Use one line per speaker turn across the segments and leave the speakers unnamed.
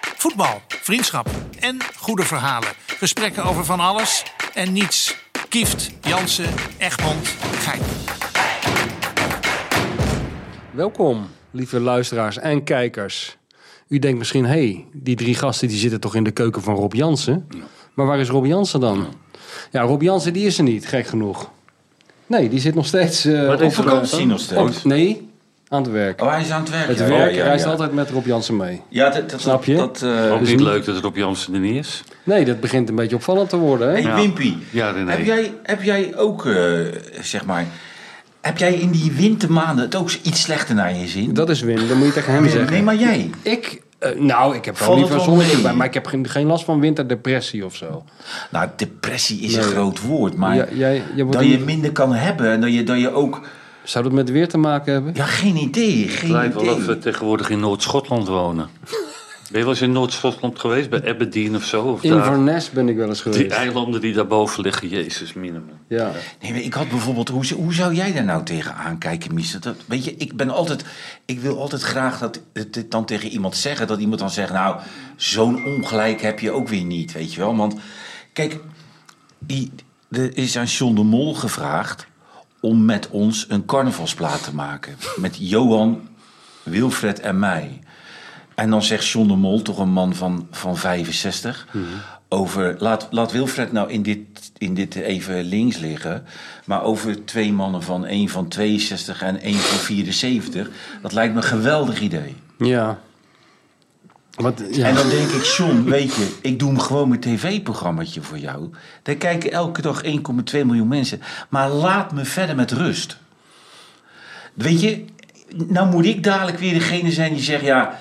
Voetbal, vriendschap en goede verhalen. Gesprekken over van alles en niets. Kieft, Jansen, Egmond, Gein.
Welkom, lieve luisteraars en kijkers. U denkt misschien, hé, hey, die drie gasten die zitten toch in de keuken van Rob Jansen? Maar waar is Rob Jansen dan? Ja, Rob Jansen die is er niet, gek genoeg. Nee, die zit nog steeds eh,
Wat
op
is er
vakantie.
dan? Nog steeds?
Op- nee, aan het werk.
Oh, hij is aan het werk.
het
ja.
werk,
Oh, ja,
hij is
ja.
altijd met Rob Jansen mee.
Ja, dat, dat,
Snap je?
Dat, eh,
Ook
Dus
niet
niet-
leuk dat Rob Jansen er niet is.
Nee, dat begint een beetje opvallend te worden, hè?
hey,
Ja.
Wimpy,
Ja, René.
heb, jij, heb jij ook, eh, zeg maar... Heb jij in die wintermaanden het ook iets slechter naar je zin?
Dat is Wim, dat moet je tegen hem zeggen.
nee, maar jij.
Ik, eh, nou, ik heb wel
Valt
liever
het
een
wel
zonnetje
mee?
bij, maar ik heb geen, geen last van winterdepressie of zo.
Nou, depressie is een
Nee.
groot woord, maar
Ja, jij- jij wordt
dat je
niet-
minder kan hebben en dat je, dat je ook...
Zou dat met weer te maken hebben?
Ja, geen idee,
Het
geen
lijkt wel dat
idee.
we tegenwoordig in Noord-Schotland wonen. Ben je wel eens in Noord-Schotland geweest? Bij Aberdeen of zo? Of daar?
Inverness ben ik wel eens
Die
geweest.
eilanden die daarboven liggen, jezus minimum.
Ja.
Nee, maar ik had bijvoorbeeld... Hoe, z- hoe zou jij daar nou tegenaan kijken, Mies? Dat, dat- weet je, ik ben altijd... Ik wil altijd graag dat het dit dan tegen iemand zeggen. Dat iemand dan zegt, nou, zo'n ongelijk heb je ook weer niet, weet je wel. Want, kijk, die, er is aan John de Mol gevraagd... om met ons een carnavalsplaat te maken. Met Johan, Wilfred en mij. En dan zegt John de Mol, toch een man van, van 65... over, laat, laat Wilfred nou in dit, in dit even links liggen... maar over twee mannen van één van 62 en één van 74... dat lijkt me een geweldig idee.
Ja. Wat, ja.
En dan denk ik, John, weet je, ik doe hem gewoon mijn tv-programmaatje voor jou. Daar kijken elke dag 1,2 miljoen mensen. Maar laat me verder met rust. Weet je, nou moet ik dadelijk weer degene zijn die zegt, ja...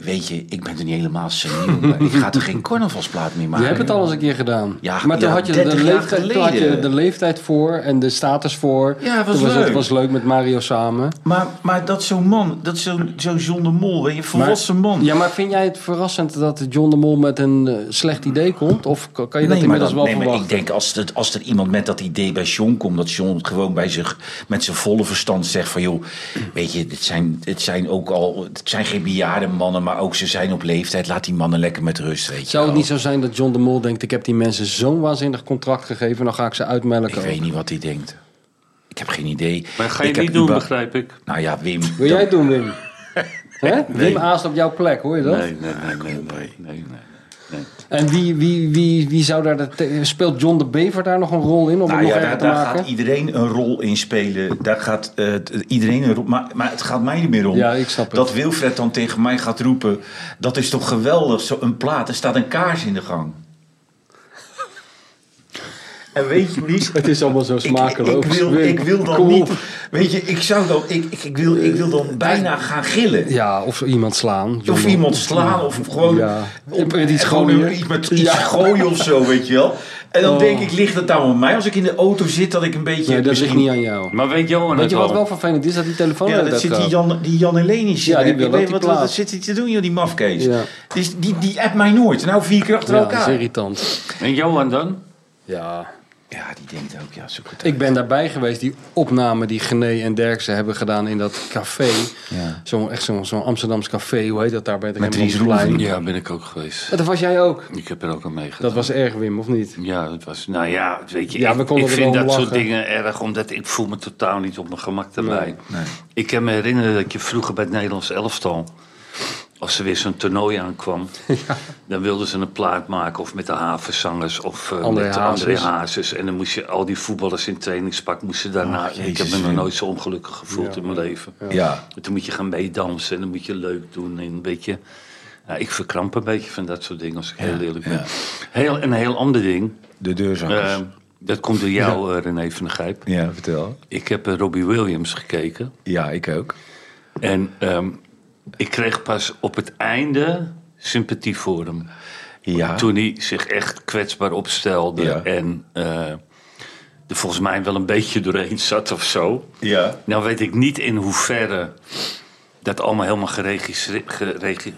Weet je, ik ben er niet helemaal seniel bij. Ik ga er geen carnavalsplaat meer
je
maken.
hebt het al eens een keer gedaan.
Ja,
maar toen,
ja,
had je de
30 jaar
leeftijd, toen had je
geleden.
de leeftijd voor en de status voor.
Ja, het was
toen Het
leuk.
was leuk met Mario samen.
Maar, maar dat zo'n man, dat zo'n zo John de Mol, weet je, volwassen
Maar-
man.
Ja, maar vind jij het verrassend dat John de Mol met een eh, slecht idee komt? Of kan kan je dat
Nee, maar,
inmiddels
dan-
wel
nee, maar ik
verwachten?
denk als, het, als er iemand met dat idee bij John komt, dat John gewoon bij zich met zijn volle verstand zegt van joh, weet je, dit zijn, dit zijn ook al, het zijn geen bejaarde mannen, maar ook ze zijn op leeftijd. Laat die mannen lekker met rust, weet je.
Zou het
wel.
niet zo zijn dat John de Mol denkt... ik heb die mensen zo'n waanzinnig contract gegeven... dan ga ik ze
Ik
uitmelken?
weet niet wat hij denkt. Ik heb geen idee.
Maar ga
Ik
je
heb
niet doen,
überhaupt-
begrijp ik.
Nou ja, Wim.
Wil jij het doen, Wim? Hè? Wim aast op jouw plek, hoor je dat?
Nee, nee, nee, nee, nee, nee, nee.
En wie, wie, wie, wie zou daar... de te- speelt John de Bever daar nog een rol in om het
Nou
nog
ja,
erger
daar,
te
daar
maken?
gaat iedereen een rol in spelen. Daar gaat eh, t- iedereen een rol. Maar, maar het gaat mij niet meer om.
Ja, ik snap het.
Dat Wilfred dan tegen mij gaat roepen. Dat is toch geweldig, zo een plaat. Er staat een kaars in de gang. En weet je, Mies,
Het is allemaal zo
ik,
smakeloos.
ik wil,
Wim,
ik wil dan
kom
niet.
op.
Weet je, ik zou dan, ik, ik, ik wil, ik wil
Eh,
dan bijna gaan gillen.
Ja, of zo iemand slaan. John
Of
de-
iemand slaan of gewoon
Ja.
op,
Met iets
gewoon
gooien.
iets met iets
Ja.
gooien of zo, weet je wel. En dan
Oh.
denk ik, ligt het nou aan mij als ik in de auto zit dat ik een beetje...
Nee, dat ligt
misschien-
niet aan jou.
Maar weet Johan
Weet
het
je
al?
wat wel vervelend is? Dat die telefoon
Ja,
uit
dat
dat
zit
gaat.
die Jan, die Jan Helenisch.
Ja, die
Ik
wil
weet
ook die
wat, wat,
plaat.
wat zit hij te doen, joh, die mafkees.
Ja.
Dus die, die appt mij nooit. Nou, vier keer achter
ja, dat is
elkaar.
irritant.
En Johan dan?
Ja.
Ja, die denkt ook, ja, zoek het
Ik ben daarbij geweest, die opname die Gené en Derksen hebben gedaan in dat café.
Ja.
Zo'n echt zo'n zo'n Amsterdams café, hoe heet dat daar bij het
Met
Rembrandtsplein?
Dries
Ja, ben ik ook geweest.
Ja, Dat was jij ook.
Ik heb er ook aan meegedaan.
Dat was erg, Wim, of niet?
Ja, dat was. Nou ja, weet je.
Ja,
ik-
we
ik,
konden er
vind
wel
dat
om
soort
lachen.
dingen erg, omdat ik voel me totaal niet op mijn gemak daarbij.
nee.
Ik kan me herinneren dat je vroeger bij het Nederlands elftal. Als er weer zo'n toernooi aankwam, dan wilden ze een plaat maken of met de havenzangers of eh,
André
met de André
Hazes.
Hazes. En dan moest je al die voetballers in trainingspak moesten daarna.
Oh,
ik heb
Jezus,
me nog
Wim.
nooit zo ongelukkig gevoeld in mijn leven.
Ja.
En Toen moet je gaan meedansen en dan moet je leuk doen en een beetje. Nou, ik verkramp een beetje van dat soort dingen als ik heel eerlijk ben. Heel, een heel ander ding.
De deurzakkers.
eh, dat komt door jou, eh, René van der Gijp.
ja, vertel.
Ik heb eh, Robbie Williams gekeken.
Ja, ik ook.
En ehm, ik kreeg pas op het einde sympathie voor hem.
Ja.
Toen hij zich echt kwetsbaar opstelde.
Ja.
En eh, er volgens mij wel een beetje doorheen zat of zo.
Ja.
Nou weet ik niet in hoeverre dat allemaal helemaal geregisseerd...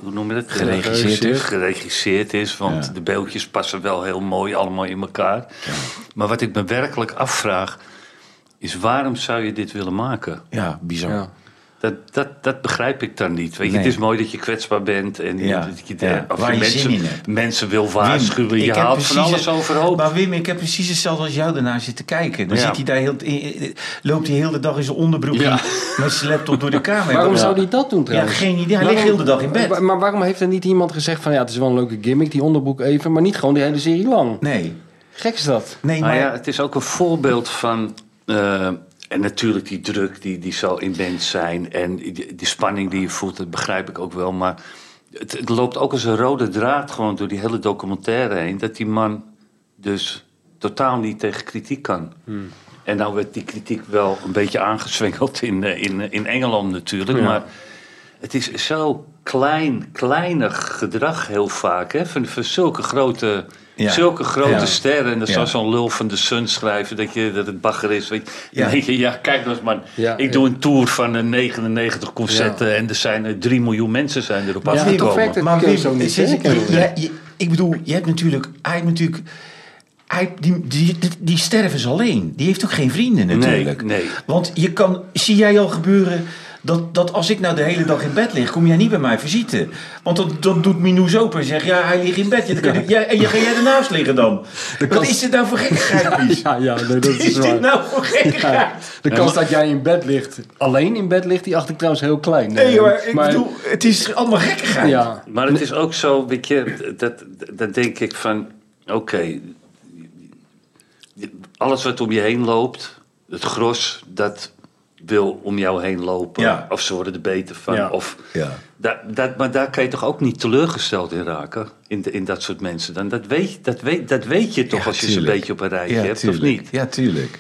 hoe noem je dat?
Geregisseerd
is.
Geregisseerd is, want
Ja.
de beeldjes passen wel heel mooi allemaal in elkaar. Maar wat ik me werkelijk afvraag... is waarom zou je dit willen maken?
Ja, bizar.
Ja.
Dat, dat, dat begrijp ik dan niet. Weet je,
Nee.
Het is mooi dat je kwetsbaar bent en
Ja,
dat je,
ja.
of
Waar
je
je
mensen,
zin in hebt.
mensen wil
Wim,
waarschuwen.
ik
Je
heb
haalt van
precies-
alles overhoop.
Maar Wim, ik heb precies hetzelfde als jou daarna zitten kijken. Dan
Ja.
zit hij daar heel, eh, eh, loopt hij heel de dag in zijn onderbroek
Ja.
met zijn laptop door de kamer.
Waarom
Ja.
zou hij dat doen
Ja,
trouwens?
geen idee. Hij
Waarom-
ligt heel de dag in bed.
Maar, maar waarom heeft er niet iemand gezegd van ja, het is wel een leuke gimmick, die onderbroek even, maar niet gewoon die hele serie lang?
Nee,
Gek is dat.
nee,
Maar
maar...
Ah, Nou ja, het is ook een voorbeeld van. eh, en natuurlijk die druk die, die zal immens zijn. En die, die spanning die je voelt, dat begrijp ik ook wel. Maar het, het loopt ook als een rode draad gewoon door die hele documentaire heen. Dat die man dus totaal niet tegen kritiek kan.
Hmm.
En nou werd die kritiek wel een beetje aangezwengeld in, eh, in, eh, in Engeland natuurlijk. Maar het is zo klein, kleinig gedrag heel vaak. Hè? Van, van zulke grote,
Ja.
zulke grote
Ja.
sterren. En dan
Ja.
zou zo'n lul van de Sun schrijven dat, je, dat het bagger is. Weet je.
Ja.
Dan denk je, ja, kijk nou eens man.
Ja,
ik
ja.
doe een tour van eh, 99 concerten. En er zijn er 3 miljoen mensen zijn erop
Maar
afgekomen.
toch werkt het
maar
kun je
Wim,
zo niet
zit-
zeggen.
je- je- je- ik bedoel, je hebt natuurlijk... Hij heeft natuurlijk... Hij, die, die, die sterven is alleen. Die heeft ook geen vrienden natuurlijk.
nee.
Want je kan, zie jij al gebeuren dat, dat als ik nou de hele dag in bed lig, kom jij niet bij mij visite. Want dat, dat doet Minou Zoper en zegt, ja, hij ligt in bed. Ja, dan kan ik- jij- en je, ga jij ernaast liggen dan? Wat is dit nou voor gekkigheid, Mies?
Ja, ja, nee, dat
Wat
is
is
waar.
dit nou voor gekkigheid?
De kans dat jij in bed ligt, alleen in bed ligt, die acht ik trouwens heel klein.
Nee hoor, ik bedoel, het is allemaal gekkigheid.
Ja,
Maar het is ook zo, weet je, dat, dat denk ik van, oké, alles wat om je heen loopt, het gros, dat wil om jou heen lopen.
Ja.
Of ze worden er beter van.
Ja.
Of,
Ja.
Da- dat, maar daar kan je toch ook niet teleurgesteld in raken, in, de- in dat soort mensen. Dan, dat, weet, je- dat, weet, dat weet je toch als je ze een
tuurlijk.
beetje op een rijtje hebt, of niet?
Ja, tuurlijk.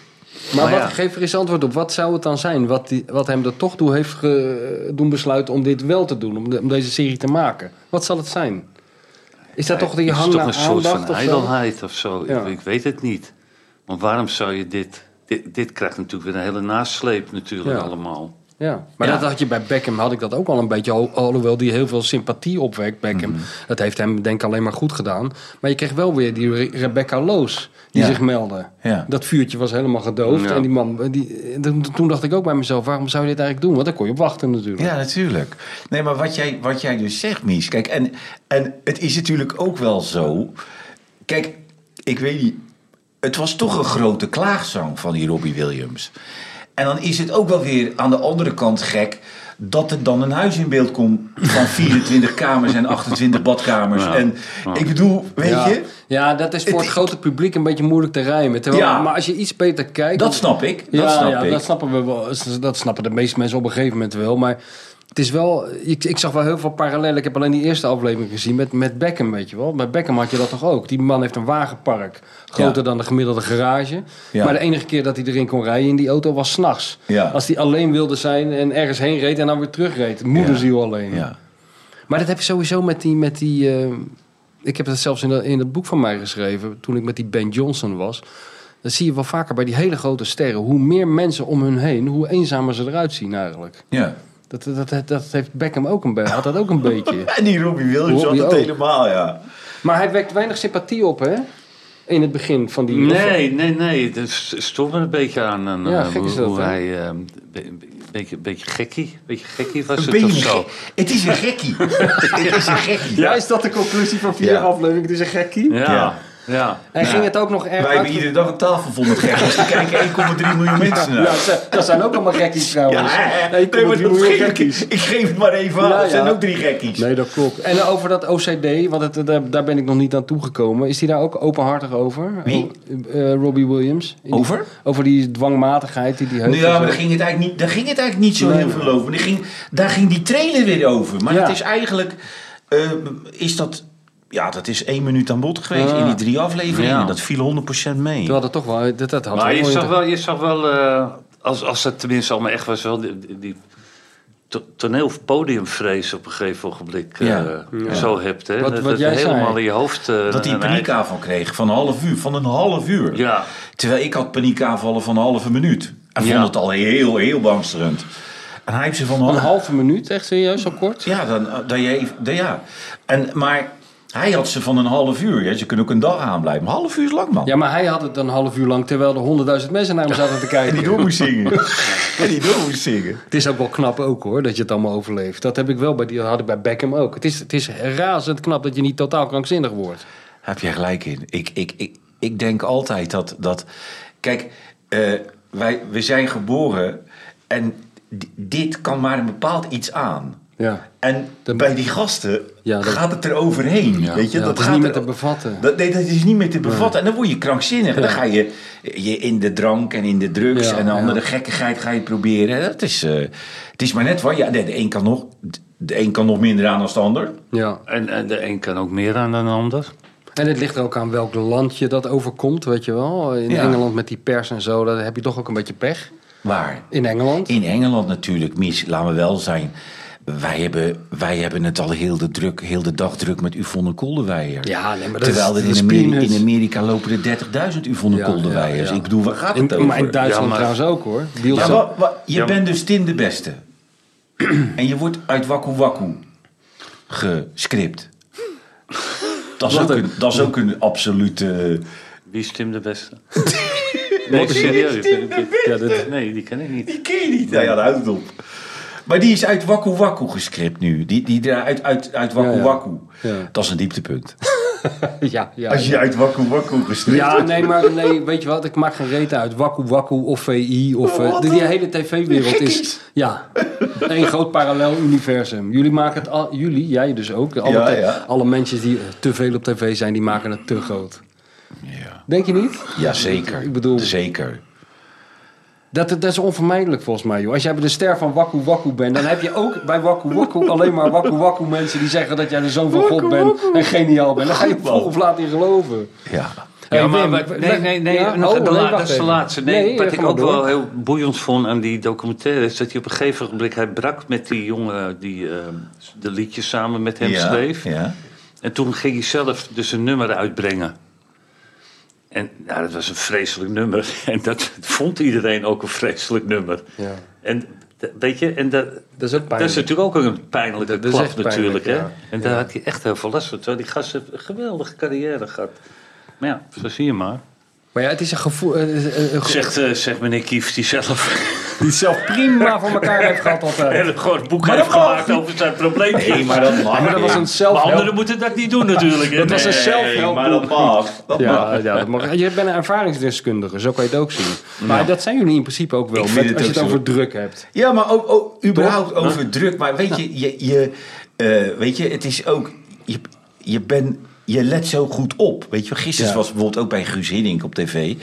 maar
Maar
wat,
ja.
geef er eens antwoord op. Wat zou het dan zijn wat, die, wat hem er toch toe heeft ge- doen besluiten om dit wel te doen, om, de- om deze serie te maken? Wat zal het zijn? Is dat toch die
Het is
hang
toch
naar
een soort
aandacht
van
of zo?
ijdelheid of zo. Ik-
Ja.
Ik, weet het niet. Want waarom zou je dit, dit... Dit krijgt natuurlijk weer een hele nasleep natuurlijk
Ja.
allemaal.
Ja, maar
Ja.
dat had je bij Beckham, had ik dat ook al een beetje, al- alhoewel die heel veel sympathie opwekt, Beckham.
Mhm.
Dat heeft hem denk ik alleen maar goed gedaan. Maar je kreeg wel weer die Re- Rebecca Loos die
Ja.
zich meldde.
Ja.
Dat vuurtje was helemaal gedoofd.
Ja.
En die man, die, eh, toen- toen dacht ik ook bij mezelf, waarom zou je dit eigenlijk doen? Want daar kon je op wachten natuurlijk.
Ja, natuurlijk. Nee, maar wat jij, wat jij dus zegt, Mies. Kijk, en, en het is natuurlijk ook wel zo. Kijk, ik weet niet. Het was toch een grote klaagzang van die Robbie Williams. En dan is het ook wel weer aan de andere kant gek. dat er dan een huis in beeld komt. van 24 kamers en 28 badkamers. En ik bedoel, weet
Ja.
je.
Ja, dat is voor het,
Het-
grote publiek een beetje moeilijk te rijmen. Terwijl,
Ja.
Maar als je iets beter kijkt...
Dat snap ik. Dat
ja,
snap
ja,
ik.
dat snappen we wel. Dat snappen de meeste mensen op een gegeven moment wel. Maar het is wel. Ik, ik zag wel heel veel parallellen. Ik heb alleen die eerste aflevering gezien met, met Beckham, weet je wel. Bij Beckham had je dat toch ook. Die man heeft een wagenpark. Groter
Ja.
dan de gemiddelde garage.
Ja.
Maar de enige keer dat hij erin kon rijden in die auto was s'nachts.
Ja.
Als hij alleen wilde zijn en ergens heen reed en dan weer terugreed. Moederziel alleen.
Ja.
Maar dat heb je sowieso met die. Met die eh, ik heb dat zelfs in, dat- in het boek van mij geschreven. toen ik met die Ben Johnson was. Dat zie je wel vaker bij die hele grote sterren. Hoe meer mensen om hun heen, hoe eenzamer ze eruit zien eigenlijk.
ja.
Dat, dat, dat, dat heeft Beckham ook een, be- had dat ook een beetje.
En die Robbie Williams
Robbie
had het
ook.
helemaal, ja.
Maar hij wekt weinig sympathie op, hè? In het begin van die.
Nee, nee, nee. Dat stoort me een beetje aan. aan
Ja,
eh,
gek
hoe,
is dat,
hoe
hè?
hij... eh, een be- een beetje, beetje gekkie. beetje gekkie was
Een
het
beetje
of
een
zo.
gek- Het is een gekkie. het is een gekkie.
Ja, is dat de conclusie van vier
Ja.
afleveringen? Het is een gekkie.
Ja, ja.
Ja.
En ging het ook nog erg
Wij hebben iedere dag een tafel vol met gekkers. Er kijken 1,3 miljoen mensen
Ja,
naar. Ja,
ze- dat zijn ook allemaal gekkies trouwens.
hè?
Nee,
Nee, maar dat
miljoen
geef ik-
gekkies.
Ik geef het maar even aan.
Ja,
Dat zijn
ja.
ook drie gekkies.
Nee, dat klopt. En over dat OCD, want het, eh, daar, daar ben ik nog niet aan toegekomen. Is hij daar ook openhartig over?
Wie?
Eh, eh, Robbie Williams. In die-
Over?
over die dwangmatigheid die hij heeft.
Nou ja,
en zo.
maar daar ging het eigenlijk niet, daar ging het eigenlijk niet zo
Nee,
heel
nee.
veel over. Daar ging, daar ging die trailer weer over. Maar
Ja.
het is eigenlijk... eh, is dat... Ja, dat is één minuut aan bod geweest
Ja.
in die drie afleveringen.
Ja.
Dat viel 100% mee.
Terwijl dat toch wel... Dat, dat had
Maar je
mooi
zag
inter-
wel... Je zag wel eh, als, als het tenminste allemaal echt was... Wel die, die- die to- toneel- of podiumvrees op een gegeven ogenblik eh,
Ja.
zo hebt. Hè?
Wat-
dat
wat
dat
jij zei.
helemaal in je hoofd... eh,
dat hij
een
een paniekaanval kreeg van een half uur. Van een half uur.
Ja.
Terwijl ik had paniekaanvallen van een halve minuut. En vond
Ja.
het al heel, heel bangsterend. En hij heeft ze van een
Een halve minuut, echt serieus, zo kort?
Ja, dan, eh, dat je even, dat ja. En, maar Hij had ze van een half uur. Hè. Ze kunnen ook een dag aanblijven. Een half uur is lang, man.
Ja, maar hij had het een half uur lang terwijl er honderdduizend mensen naar hem zaten te
En die
kijken.
door moest zingen. en die door moest zingen.
Het is ook wel knap ook hoor, dat je het allemaal overleeft. Dat heb ik wel bij, die, had ik bij Beckham ook. Het is, het is razend knap dat je niet totaal krankzinnig wordt.
Heb jij gelijk in. Ik, ik, ik, ik denk altijd dat... dat kijk, eh, wij, we zijn geboren en d- dit kan maar een bepaald iets aan.
Ja.
En
Dat-
bij die gasten
Ja, dat-
gaat het er overheen. Weet je?
Ja,
dat
het is
gaat
niet
er-
meer te bevatten.
Dat, nee, dat is niet meer te bevatten. En dan word je krankzinnig. Dan ga je, je in de drank en in de drugs
Ja,
en de
ja.
andere gekkigheid ga je proberen. Dat is, eh, het is maar net wat. Ja, de, de een kan nog, de een kan nog minder aan dan de ander.
Ja.
En, en de een kan ook meer aan dan de ander.
En het ligt er ook aan welk land je dat overkomt, weet je wel. In
Ja.
Engeland met die pers en zo, daar heb je toch ook een beetje pech.
Maar
In Engeland.
in Engeland natuurlijk, mis, laten we wel zijn. Wij hebben, wij hebben het al heel de, druk, heel de dag druk met Yvonne Kolderweijer.
Ja, nee, maar dat
Terwijl
is-
er
dat
in,
is
Amerika,
peanuts.
in Amerika lopen er 30.000 Yvonne
Ja,
Kolderweijers.
ja, ja.
Ik bedoel, waar gaat
In,
het over?
maar in Duitsland
Ja, maar-
trouwens ook hoor.
Ja,
Bielsa-
wa- wa- je
Ja.
bent dus Tim de beste. en je wordt uit Waku Waku gescript. Dat is, ook een, dat is ook een absolute...
Wie is Tim de Beste? nee, serieus.
Tim de Beste?
Ja, dat- nee, die ken ik niet.
Die ken je niet. Nou ja, daar houdt het op. Maar die is uit Waku Waku gescript nu. Die, die daar uit, uit, uit Waku
Ja, ja.
Waku.
Ja.
Dat is een dieptepunt.
ja, ja,
Als je uit Waku Waku gescript
Ja,
wordt.
nee, maar nee, weet je wat? Ik maak geen reet uit. Waku Waku of VI of... eh,
wat
die,
dan?
hele tv-wereld is... Ja, één groot parallel universum. Jullie maken het... Al, jullie, jij dus ook. Alle,
Ja,
te-
ja.
alle mensen die eh, te veel op tv zijn, die maken het te groot.
Ja.
Denk je niet?
ja, zeker.
Ik bedoel-
Zeker.
Dat, dat is onvermijdelijk volgens mij, joh. Als jij bij de ster van Waku Waku bent, dan heb je ook bij Waku Waku alleen maar Waku Waku mensen die zeggen dat jij de zoon van God bent en geniaal bent. Dan ga je vroeg of laat in geloven.
Ja.
Hey,
Ja, maar,
Wim,
maar-
we-
nee, nee, nee.
Ja?
nog
Oh,
de
nee,
la-
wacht
dat is de
even.
laatste. Nee,
Nee,
wat
eh,
ik
ga maar
ook
door.
wel heel boeiend vond aan die documentaire... is dat hij op een gegeven ogenblik... hij brak met die jongen die eh, de liedjes samen met hem
ja.
schreef.
Ja.
En toen ging hij zelf dus een nummer uitbrengen. En nou, dat was een vreselijk nummer. En dat vond iedereen ook een vreselijk nummer.
Ja.
En d- weet je, en dat,
Dat is ook
dat is
pijnlijk.
natuurlijk ook een pijnlijke
Dat is
klap
echt pijnlijk,
natuurlijk.
ja.
hè? En daar had hij echt heel veel last van. Terwijl die gast heeft een geweldige carrière gehad. Maar ja, zo zie je maar.
Maar ja, het is een gevoel... eh, eh, eh,
Zegt, eh, zegt meneer Kieft die zelf
die het zelf prima voor elkaar heeft gehad
een
altijd.
hele groot boek
Maar
heeft
dat mag
gemaakt
niet.
over zijn probleem.
Nee, maar dat mag.
Maar dat was een
maar
zelfhelp.
anderen moeten dat niet doen natuurlijk. hè?
Dat was een
Nee,
zelfhelp.
maar dat mag. Dat mag.
Ja, ja, dat mag. je bent een ervaringsdeskundige, zo kan je het ook zien. Maar dat zijn jullie in principe ook wel,
Ik
met,
vind
als
het
je
ook
het
zo.
over druk hebt.
Ja, maar ook, ook überhaupt over druk. Maar weet je, je, je eh, weet je, het is ook. Je, je, ben, je let zo goed op. Weet je, gisteren
Ja.
was bijvoorbeeld ook bij Guus Hiddink op tv.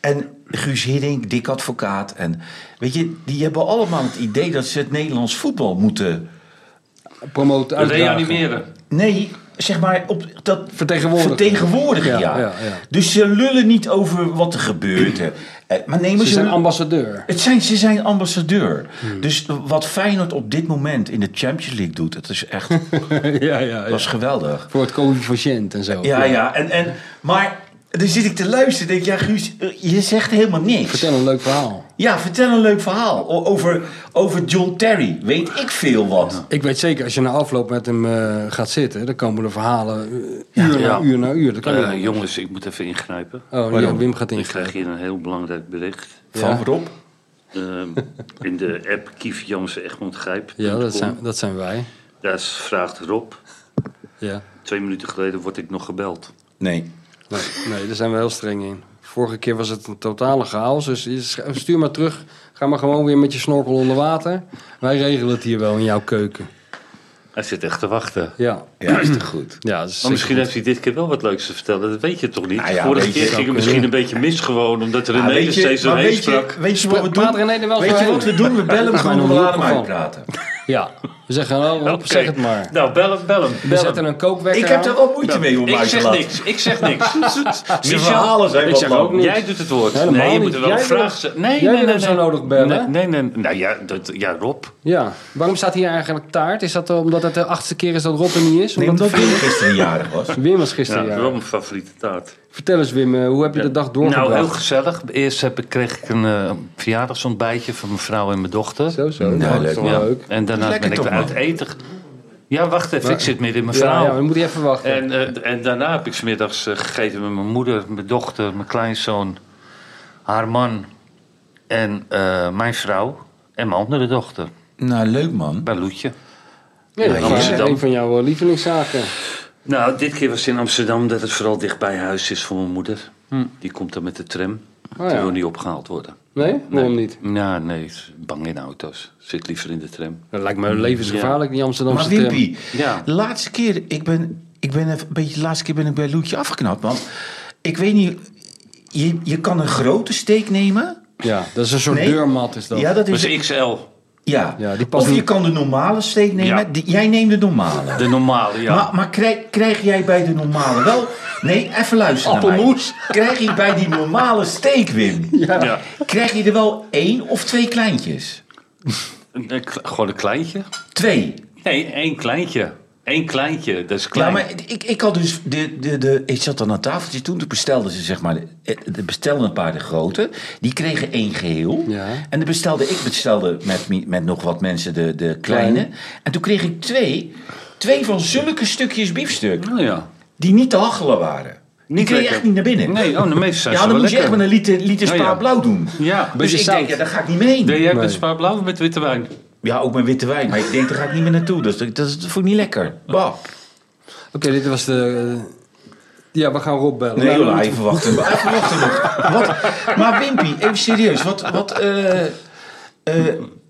En Guus Hiddink, dik advocaat. En weet je, die hebben allemaal het idee dat ze het Nederlands voetbal moeten.
Promoten, uitdragen.
Reanimeren.
Nee, zeg maar, op dat
Vertegenwoordigen.
vertegenwoordigen, ja,
Ja, ja, ja.
Dus ze lullen niet over wat er gebeurt. hè. Eh, Maar nemen
Ze zijn
hun-
ambassadeur.
Het zijn, ze zijn ambassadeur. Dus wat Feyenoord op dit moment in de Champions League doet, dat is echt
ja, ja,
dat
ja.
is geweldig.
Voor het coëfficiënt en zo.
Ja, ja. En, en, maar dan zit ik te luisteren denk ik, ja Guus, eh, je zegt helemaal niks.
Vertel een leuk verhaal.
Ja, vertel een leuk verhaal o- over, over John Terry. Weet ik veel wat.
Ik weet zeker, als je na afloop met hem eh, gaat zitten, dan komen er verhalen eh, uur,
Ja.
na uur na uur. Dat kan
Eh,
niet.
jongens, ik moet even ingrijpen.
Oh, ja, Wim gaat
Ik krijg
ingrijpen.
hier een heel belangrijk bericht.
Van Rob.
Ehm, in de app Kief Jansen Egmond Grijp.
Ja, dat zijn, dat zijn wij.
Daar is- vraagt Rob.
Ja.
Twee minuten geleden word ik nog gebeld.
Nee.
Nee, nee, daar zijn we heel streng in. Vorige keer was het een totale chaos. Dus je sch- stuur maar terug. Ga maar gewoon weer met je snorkel onder water. Wij regelen het hier wel in jouw keuken.
Hij zit echt te wachten.
Ja,
Ja, is toch goed.
ja dat is
Maar misschien
zeker
heeft hij dit keer wel wat leuks te vertellen. Dat weet je toch niet?
Nou ja,
Vorige
weet je,
keer ging het
zou
kunnen.
misschien een beetje mis gewoon. Omdat René
Ja,
er steeds
maar
doorheen
weet je,
sprak.
weet je wat we
Spra- praat
doen?
René er wel
Weet je
doorheen?
wat we doen? We bellen hem
is mij
gewoon, we
nog
laten
niet
hem
opgevallen.
uitpraten.
goed. Ja, we zeggen oh, Rob,
Oké.
zeg het maar.
Nou, bel hem, bel hem.
We
Bel
zetten
hem.
een kookwekker
Ik heb
aan.
daar wel moeite mee om
Ik
uit te
zeg
laten.
niks, ik zeg niks.
Ze
Michel,
verhalen zijn
ik
wat
zeg
lang.
ook niet.
Jij doet het woord.
Helemaal
nee, je
niet.
moet er wel
Jij
een
wil-
vraag stellen.
jij
Nee, nee,
wil
nee,
hem zo
nee.
nodig bellen.
Nee, nee, nee. Nou ja, dat, ja Rob.
Ja, waarom staat hier eigenlijk taart? Is dat omdat het de achtste keer is dat Rob er niet is?
Nee,
Omdat
omdat Wim gisteren jarig was.
Wim was gisteren,
Ja,
ja.
wel mijn favoriete taart.
Vertel eens Wim, eh, hoe heb je de dag doorgebracht?
Nou, heel gezellig. Eerst heb ik, kreeg ik een eh, verjaardagsontbijtje van mijn vrouw en mijn dochter.
Zo, zo.
Nou,
dat is
leuk,
toch wel
Ja.
leuk.
En daarna
Lekker
ben ik
toch,
weer uit
man?
eten. ge- Ja, wacht even, ik zit midden in mijn
Ja,
verhaal.
ja, we moeten even wachten.
En, eh, en daarna heb ik smiddags eh, gegeten met mijn moeder, mijn dochter, mijn kleinzoon, haar man en eh, mijn vrouw en mijn andere dochter,
Nou, leuk man.
bij Loetje.
nee, dat
in
is
Amsterdam.
een van jouw eh, lievelingszaken.
Nou, dit keer was het in Amsterdam dat het vooral dicht bij huis is voor mijn moeder. Die komt dan met de tram.
Oh,
Die
ja.
wil niet opgehaald worden.
Nee? Waarom niet?
Nou, nee, is bang in auto's. Zit liever in de tram.
Dat lijkt me levensgevaarlijk, die Amsterdamse
Maar
tram.
Wimpy,
Ja.
de laatste keer, ik ben, ik ben even, een beetje, de laatste keer ben ik bij Loetje afgeknapt. Want ik weet niet, je, je kan een grote steek nemen.
Ja, dat is een soort
Nee.
deurmat is dat.
Ja, dat
Dat
is,
is XL,
ja.
Ja, die past
of je
niet.
kan de normale steek nemen.
Ja.
Die- jij neemt de normale.
de normale, ja.
Maar, maar krijg, krijg jij bij de normale wel... Nee, even luisteren
Appelmoes.
naar mij. Krijg je bij die normale steek, Wim...
ja.
krijg je er wel één of twee kleintjes?
Een- een kle- gewoon een kleintje.
Twee.
Nee, één kleintje. Eén kleintje, dat is
Ja,
klein.
maar ik, ik had dus... De, de, de, ik zat aan een tafeltje toen. Toen bestelden ze zeg maar... De, de bestelden een paar de grote. Die kregen één geheel.
Ja.
En de bestelde, ik bestelde met, mi- met nog wat mensen de, de kleine. En toen kreeg ik twee... Twee van zulke stukjes biefstuk.
Nou ja.
Die niet te hachelen waren. Die
Niet
kreeg je
lekker.
echt niet naar binnen.
Nee, oh, de meeste zijn
Ja,
ze
dan
wel
moet je echt
lekker.
met een liter, liter
Ja,
spa
ja.
blauw doen.
Ja,
Dus
beetje
ik
zout.
denk, ja, daar ga ik niet mee.
Nee, jij hebt
Nee.
met spaar blauw of met witte wijn?
Ja, ook met witte wijn. Maar ik denk, daar ga ik niet meer naartoe. Dus dat, dat, dat vond ik niet lekker. Bah.
Oké, dit was de... eh, ja, we gaan Rob bellen.
Nee,
Nou,
joh, even wachten. Even wachten. nog. Wat? Maar Wimpy, even serieus. Wat, wat, eh, eh,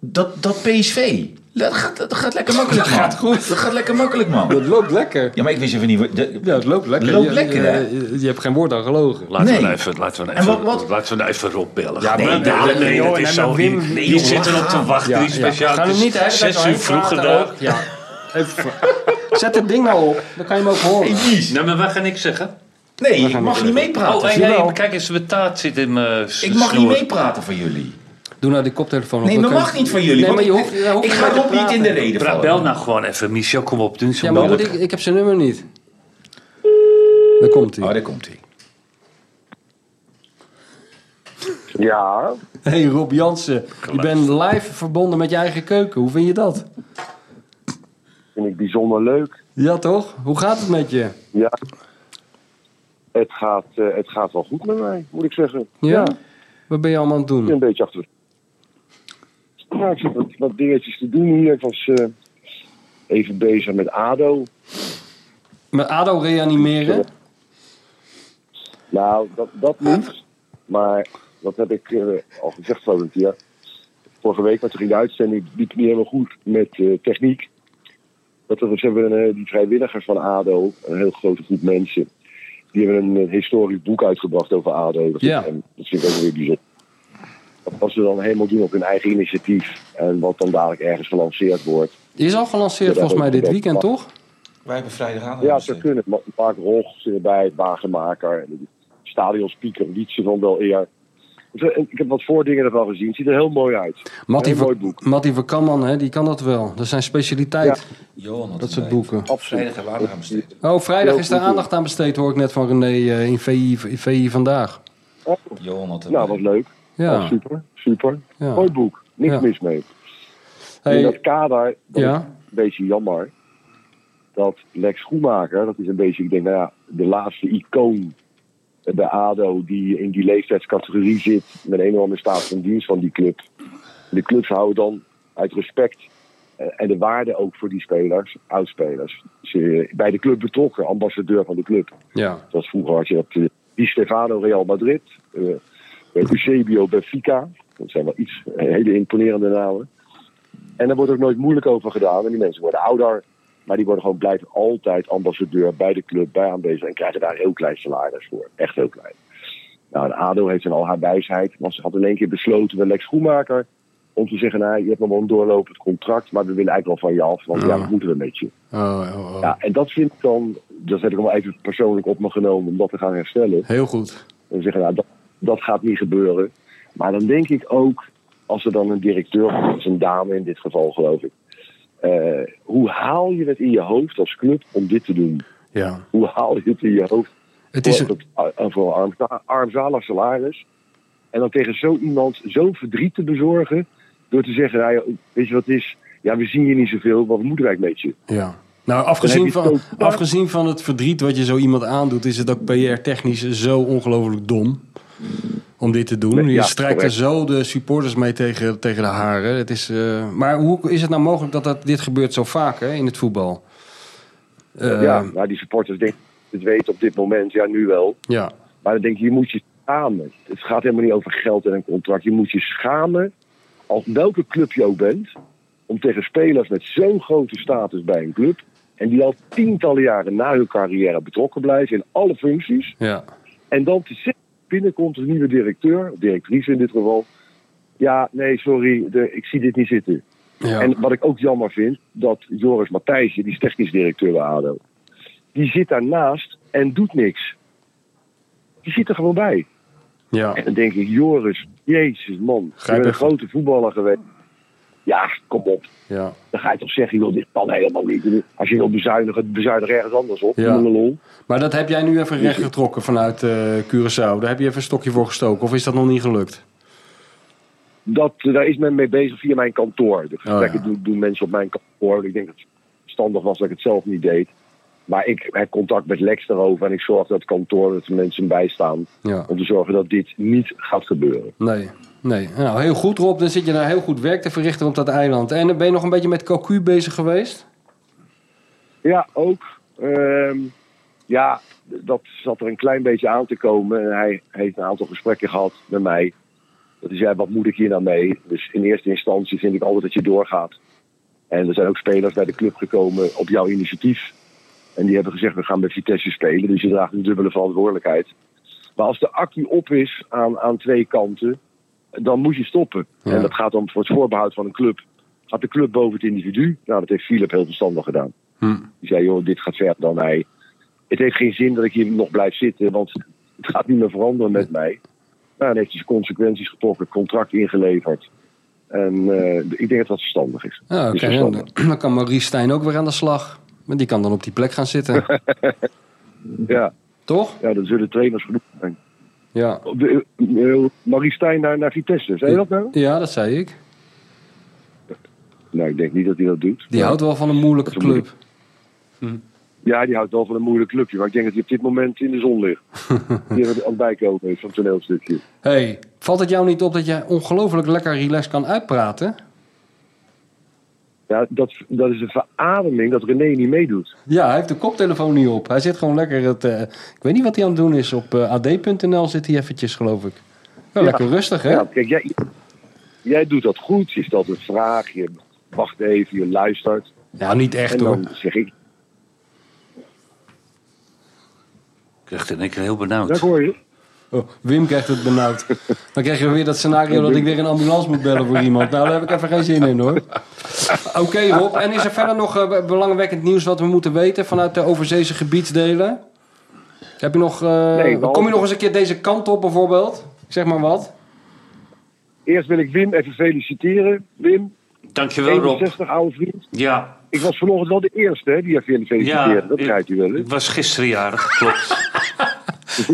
dat, dat PSV, dat gaat, dat gaat lekker makkelijk, man. Dat gaat goed. Dat gaat lekker makkelijk, man.
Het loopt lekker.
Ja, maar ik wist even niet... wat- de-
Ja, het loopt lekker.
Loopt
Je-
lekker,
je,
hè?
je, je hebt geen woord aan gelogen.
Laten
Nee.
we nou even, laten we nou
En
even,
wat- wat-
laten we nou even Rob bellen.
Ja,
nee,
maar-
nee,
ja,
nee,
nee,
dat
joh,
is
en
zo.
dan
Die,
Wim-
die
joh,
zit erop
laat
te wachten. Die
ja.
speciaal.
Gaan we
Het is
niet de hele tijd
zes uur
doorheen
vroeger
praten
daar.
ook. Ja, even, zet het ding nou op. Dan kan je hem ook horen.
Hey, Mies.
Nou, maar wij gaan niks zeggen.
Nee,
gaan
ik mag
niet
niet
verder.
meepraten.
oh, hey,
jawel.
hey, kijk eens, mijn taart zit in mijn s-
ik mag niet
snor.
meepraten van jullie.
Doe nou die koptelefoon op.
Nee,
dan
dat
kun je-
mag niet van jullie.
Nee,
want
maar je
ik-
hoeft, je hoeft
ik
niet
ga
meer te
Rob niet
praten.
in de reden
Bra-
vallen.
Bel nou gewoon even. Michel, kom op, doe niet zo
Ja, maar moet
moeilijk.
ik, ik heb zijn nummer niet. Daar komt
Oh,
hij.
daar komt hij.
Ja,
Hey Rob Jansen, je bent live verbonden met je eigen keuken. Hoe vind je dat?
vind ik bijzonder leuk.
Ja toch? Hoe gaat het met je?
Ja. Het gaat, eh, het gaat wel goed met mij, moet ik zeggen.
Ja?
Ja, ik
Wat ben je allemaal aan het
ben
doen?
een beetje achter. Nou, ik zit wat, wat dingetjes te doen hier. Ik was eh, even bezig met ADO.
Met ADO reanimeren?
Nou, dat, dat niet. Maar dat heb ik eh, al gezegd van het jaar. Vorige week, maar toen ging de uitzending liep niet helemaal goed met eh, techniek. Dat we, ze hebben eh, die vrijwilligers van ADO, een heel grote groep mensen... die hebben een, eh, historisch boek uitgebracht over ADO. Dat,
Ja.
vind, ik- en dat vind ik ook weer bijzonder. Dat wat ze dan helemaal doen op hun eigen initiatief... en wat dan dadelijk ergens gelanceerd wordt.
Is al gelanceerd volgens mij dit weekend, toch?
Wij hebben vrijdagavond.
Ah,
Ja, ze kunnen. Ma- Mark Rog zit erbij, Wagenmaker, stadionspeaker Wietse van wel eer. Dus, eh, Ik heb wat voordingen ervan gezien. Het ziet er heel mooi uit.
Mattie
heel mooi
van,
boek.
Mattie van Kamman, hè, die kan dat wel. Dat is zijn specialiteit, dat soort boeken.
Absoluut.
Vrijdag en later gaan besteden.
Oh, vrijdag
Heel
is daar
goed, hoor.
aandacht aan besteed, hoor ik net van René eh, in VI, v- VI vandaag.
Johan had
Nou, wat leuk. Oh,
Ja.
super, super.
Ja.
Mooi boek. Niks
Ja.
mis mee. In dat
Hey,
kader, dat
Ja.
is een beetje jammer. Dat Lex Schoenmaker, dat is een beetje, ik denk, nou ja, de laatste icoon bij ADO die in die leeftijdscategorie zit met een enorme staat van dienst van die club. De clubs houden dan uit respect eh, en de waarde ook voor die spelers, oudspelers, ze- bij de club betrokken, ambassadeur van de club.
ja.
Zoals vroeger had je dat eh, Di Stefano Real Madrid, eh Eusebio Benfica. Dat zijn wel iets, eh, hele imponerende namen. En daar wordt ook nooit moeilijk over gedaan. En die mensen worden ouder, maar die worden gewoon blijven altijd ambassadeur bij de club, bij aanwezig. En krijgen daar heel klein salaris voor. Echt heel klein. Nou, de ADO heeft in al haar wijsheid, want ze had in één keer besloten met Lex Schoenmaker... om te zeggen, nou, je hebt nog wel een doorlopend contract, maar we willen eigenlijk wel van je af. Want ja, wat moeten we met je?
Oh, oh, oh.
Ja, en dat vind ik dan, dat heb ik wel even persoonlijk op me genomen om dat te gaan herstellen.
Heel goed.
En zeggen, nou, dat, dat gaat niet gebeuren. Maar dan denk ik ook, als er dan een directeur, dat is een dame in dit geval geloof ik. eh, hoe haal je het in je hoofd als club om dit te doen?
Ja.
Hoe haal je het in je hoofd
Het is,
voor, een- voor een armza- armzalig salaris? En dan tegen zo iemand zo'n verdriet te bezorgen door te zeggen, nou, ja, weet je wat het is? Ja, we zien je niet zoveel, wat moeten wij met je?
ja. Nou,
Dan
afgezien
heb je
van,
het ook-
afgezien van het verdriet wat je zo iemand aandoet, is het ook PR-technisch zo ongelooflijk dom om dit te doen.
Nee,
je
ja,
strijkt er
correct.
zo de supporters mee tegen, tegen de haren. Het is, eh, maar hoe is het nou mogelijk dat, dat dit gebeurt zo vaak hè, in het voetbal? Eh,
ja, nou, die supporters denken het weten op dit moment, ja nu wel.
ja.
Maar dan denk je, je moet je schamen. Het gaat helemaal niet over geld en een contract. Je moet je schamen, als welke club je ook bent, om tegen spelers met zo'n grote status bij een club. En die al tientallen jaren na hun carrière betrokken blijven in alle functies.
ja.
En dan te zeggen, binnenkomt een nieuwe directeur, of directrice in dit geval. Ja, nee, sorry, de, ik zie dit niet zitten.
Ja.
En wat ik ook jammer vind, dat Joris Matthijsje, die is technisch directeur bij ADO, die zit daarnaast en doet niks. Die zit er gewoon bij.
ja.
En dan denk ik, Joris, jezus man, je
Grijp
bent een
even.
grote voetballer geweest. Ja, kom op.
ja.
Dan ga je toch zeggen, joh, dit kan helemaal niet. Als je wil bezuinigen, bezuinig ergens anders op.
Ja.
Ja. Lol.
Maar dat heb jij nu even recht getrokken vanuit eh, Curaçao. Daar heb je even een stokje voor gestoken. Of is dat nog niet gelukt?
Dat, eh, daar is men mee bezig via mijn kantoor. De gesprekken
ja.
doen, doen mensen op mijn kantoor. Ik denk dat het verstandig was dat ik het zelf niet deed. Maar ik heb contact met Lex daarover en ik zorg dat het kantoor dat er mensen bijstaan.
Ja.
Om te zorgen dat dit niet gaat gebeuren.
Nee. Nee. Nou, heel goed Rob. Dan zit je daar heel goed werk te verrichten op dat eiland. En dan ben je nog een beetje met Cocu bezig geweest?
Ja, ook. Ehm, ja, dat zat er een klein beetje aan te komen. En hij heeft een aantal gesprekken gehad met mij. Dat hij zei, wat moet ik hier nou mee? Dus in eerste instantie vind ik altijd dat je doorgaat. En er zijn ook spelers bij de club gekomen op jouw initiatief. En die hebben gezegd, we gaan bij Vitesse spelen. Dus je draagt een dubbele verantwoordelijkheid. Maar als de accu op is aan, aan twee kanten, dan moet je stoppen.
Ja.
En dat gaat dan voor het voorbehoud van een club. Gaat de club boven het individu? Nou, dat heeft Philip heel verstandig gedaan.
Hm.
Die zei, joh, dit gaat verder dan mij. Het heeft geen zin dat ik hier nog blijf zitten, want het gaat niet meer veranderen met mij. Nou, dan heeft hij zijn consequenties getrokken, het contract ingeleverd. En eh, ik denk dat dat verstandig is.
Ja, oké.
Is
En
verstandig.
Dan, dan kan Maurice Stijn ook weer aan de slag. Maar die kan dan op die plek gaan zitten.
Ja,
Toch?
ja, dan zullen trainers genoeg zijn.
Ja.
Op de- eh, Marie Stijn naar, naar Vitesse, zei je dat nou?
Ja, dat zei ik.
Nou, ik denk niet dat hij dat doet.
Die houdt wel van een moeilijke club.
Ja, die houdt wel van een moeilijk clubje, maar ik denk dat hij op dit moment in de zon ligt. Hier aan het bijkomen is van het toneelstukje.
hey, valt het jou niet op dat jij ongelooflijk lekker relaxed kan uitpraten?
Ja, dat, dat is een verademing dat René niet meedoet.
Ja, hij heeft de koptelefoon niet op. Hij zit gewoon lekker het... eh, ik weet niet wat hij aan het doen is. Op eh, ad.nl zit hij eventjes, geloof ik. Ja, lekker rustig, hè?
Ja, kijk, jij, jij doet dat goed. Je stelt een vraag, je wacht even, je luistert.
Nou, niet echt
En
hoor.
dan zeg ik,
Ik krijg het in één keer heel benauwd.
dat hoor je.
Oh, Wim krijgt het benauwd. Dan krijg je weer dat scenario dat ik weer een ambulance moet bellen voor iemand. Nou, daar heb ik even geen zin in hoor. Oké Rob, en is er verder nog eh, belangwekkend nieuws wat we moeten weten vanuit de overzeese gebiedsdelen? Heb je nog, eh,
behalve-
kom je nog eens een keer deze kant op bijvoorbeeld? Ik zeg maar wat.
Eerst wil ik Wim even feliciteren. Wim,
Dankjewel, Rob.
61, oude vriend.
Ja,
Ik was vanochtend wel de eerste hè, die je wilde feliciteren.
ja.
dat krijgt u wel hè?
Ik was gisteren jarig, klopt.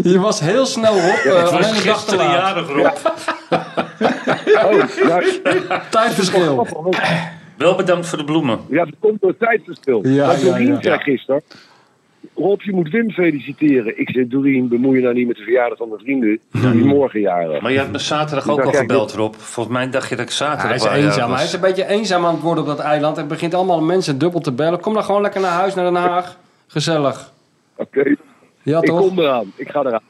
Je was heel snel Rob, eh,
Het was
alleen een dag te
gisteren
laat.
jarig, Rob.
Oh, ja,
Tijdverschil.
grappig, want-
Wel bedankt voor de bloemen.
ja, dat komt door het tijdverschil.
Ja,
Want
ja,
Doreen
ja.
zei gisteren, Rob, je moet Wim feliciteren. Ik zei, Doreen, bemoei je nou niet met de verjaardag van mijn vrienden. Die morgen jaren.
Maar je had me zaterdag ook
Ja,
al
kijk,
gebeld, Rob. Volgens mij dacht je dat ik zaterdag
Hij is
wel jarig
eenzaam.
was.
Hij is een beetje eenzaam aan het worden op dat eiland. En begint allemaal mensen dubbel te bellen. Kom dan gewoon lekker naar huis, naar Den Haag. Gezellig.
Oké,
Ja
ik
toch?
kom eraan. Ik ga eraan.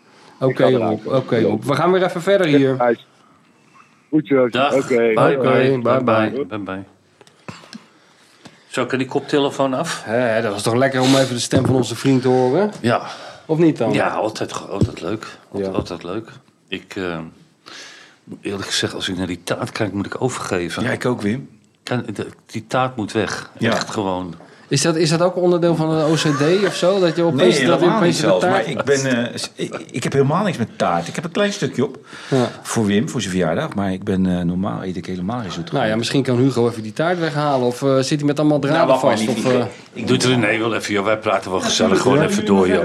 Ik
Oké
ga eraan.
Rob, oké Rob. We gaan weer even verder hier.
Uit. Goed zo.
Dag.
Oké.
Bye, bye,
Bye,
bye,
bye.
bye, bye, bye. Zo, kan die koptelefoon af?
Hè, dat was toch lekker om even de stem van onze vriend te horen?
Ja.
Of niet dan?
Ja, altijd, ge- altijd leuk. Altijd,
Ja.
altijd leuk. Ik, eh, eerlijk gezegd, als ik naar die taart kijk, moet ik overgeven.
Ja, ik ook, Wim.
Kan- de- die taart moet weg.
Ja.
Echt gewoon.
Is, dat, is dat ook onderdeel van de OCD of zo? Dat je
Nee,
opeens, dat je
helemaal niet
opeens
zelfs.
de
Maar
taart...
ik, ben, eh, s- ik, ik heb helemaal niks met taart. Ik heb een klein stukje op
Ja.
voor Wim, voor zijn verjaardag. Maar ik ben eh, normaal, eet ik helemaal geen zoet.
Nou ja, misschien kan Hugo even die taart weghalen. Of eh, zit hij met allemaal draden
Nou,
vast? Of, eh,
Ik doe het René wel even, joh. Wij praten wel gezellig gewoon even door, joh.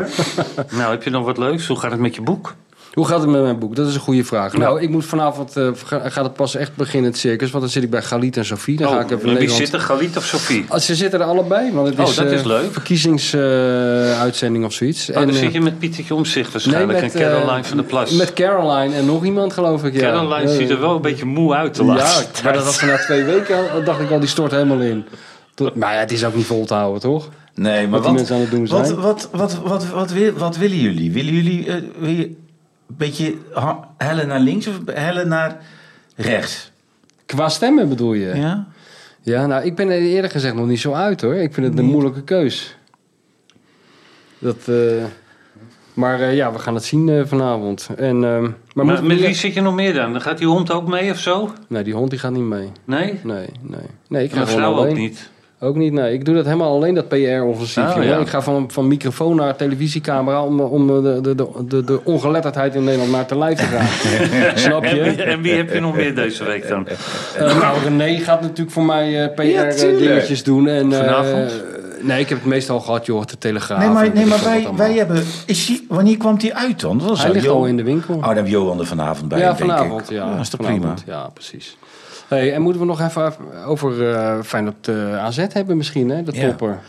nou, heb je nog wat leuks? Hoe gaat het met je boek?
Hoe gaat het met mijn boek? Dat is een goede vraag. Nou, ik moet vanavond, eh, ga- gaat het pas echt beginnen, het circus. Want dan zit ik bij Galit en Sofie. Dan ga ik
Oh,
even
wie
Nederland...
zit er, Galit of Sofie?
Ah, Ze zitten er allebei, want het
Oh,
is,
dat is
eh,
leuk.
verkiezingsuitzending of zoiets.
Oh,
En, eh,
dan zit je met Pietertje Omzicht
nee,
waarschijnlijk
met,
en
eh,
Caroline van der Plas.
Met Caroline en nog iemand, geloof ik. Ja.
Caroline
Ja,
ziet
ja.
er wel een beetje moe uit de
Ja,
laatste
maar dat was er na twee weken al, dacht ik al, die stort helemaal in. Toen- Maar ja, het is ook niet vol te houden, toch?
Nee, maar
Wat die
wat,
mensen aan het doen
wat,
zijn.
wat, wat, wat, wat, wil- wat willen jullie? Willen jullie eh, wil je een beetje ha- hellen naar links of hellen naar rechts?
Qua stemmen bedoel je? Ja.
Ja?
nou, ik ben er eerder gezegd nog niet zo uit, hoor. Ik vind het een moeilijke keus. Dat, eh, maar eh, ja, we gaan het zien eh, vanavond. En, ehm, maar
Maar
moet
met
ik-
wie zit je nog meer dan? Dan gaat die hond ook mee of zo?
Nee, die hond die gaat niet mee.
Nee?
Nee, nee. Nee, ik ga gewoon
Mijn vrouw
alleen.
ook niet.
Ook niet, nee. Ik doe dat helemaal alleen, dat PR-offensief.
Oh,
jongen.
ja.
Ik ga van, van microfoon naar televisiecamera om, om eh, de, de, de, de, de ongeletterdheid in Nederland maar te lijf te gaan. Snap je?
En wie, en wie heb je nog meer deze week dan?
Eh, nou, René gaat natuurlijk voor mij eh, PR-dingetjes doen. En, eh,
Vanavond?
nee, ik heb het meestal gehad, joh, de Telegraaf.
Nee, maar,
en
nee,
weet
maar
ik wat
wij,
allemaal.
wij eh, hebben... Is die, wanneer kwam die uit dan? Dat was
Hij ligt al in de winkel.
Oh, daar heb Johan er vanavond bij,
ja,
denk ik. Ah, Oh,
vanavond. Ja,
dat is toch prima?
vanavond, Ja, precies. Hey, en moeten we nog even over eh Feyenoord eh, AZ hebben misschien, hè? De
Ja.
topper.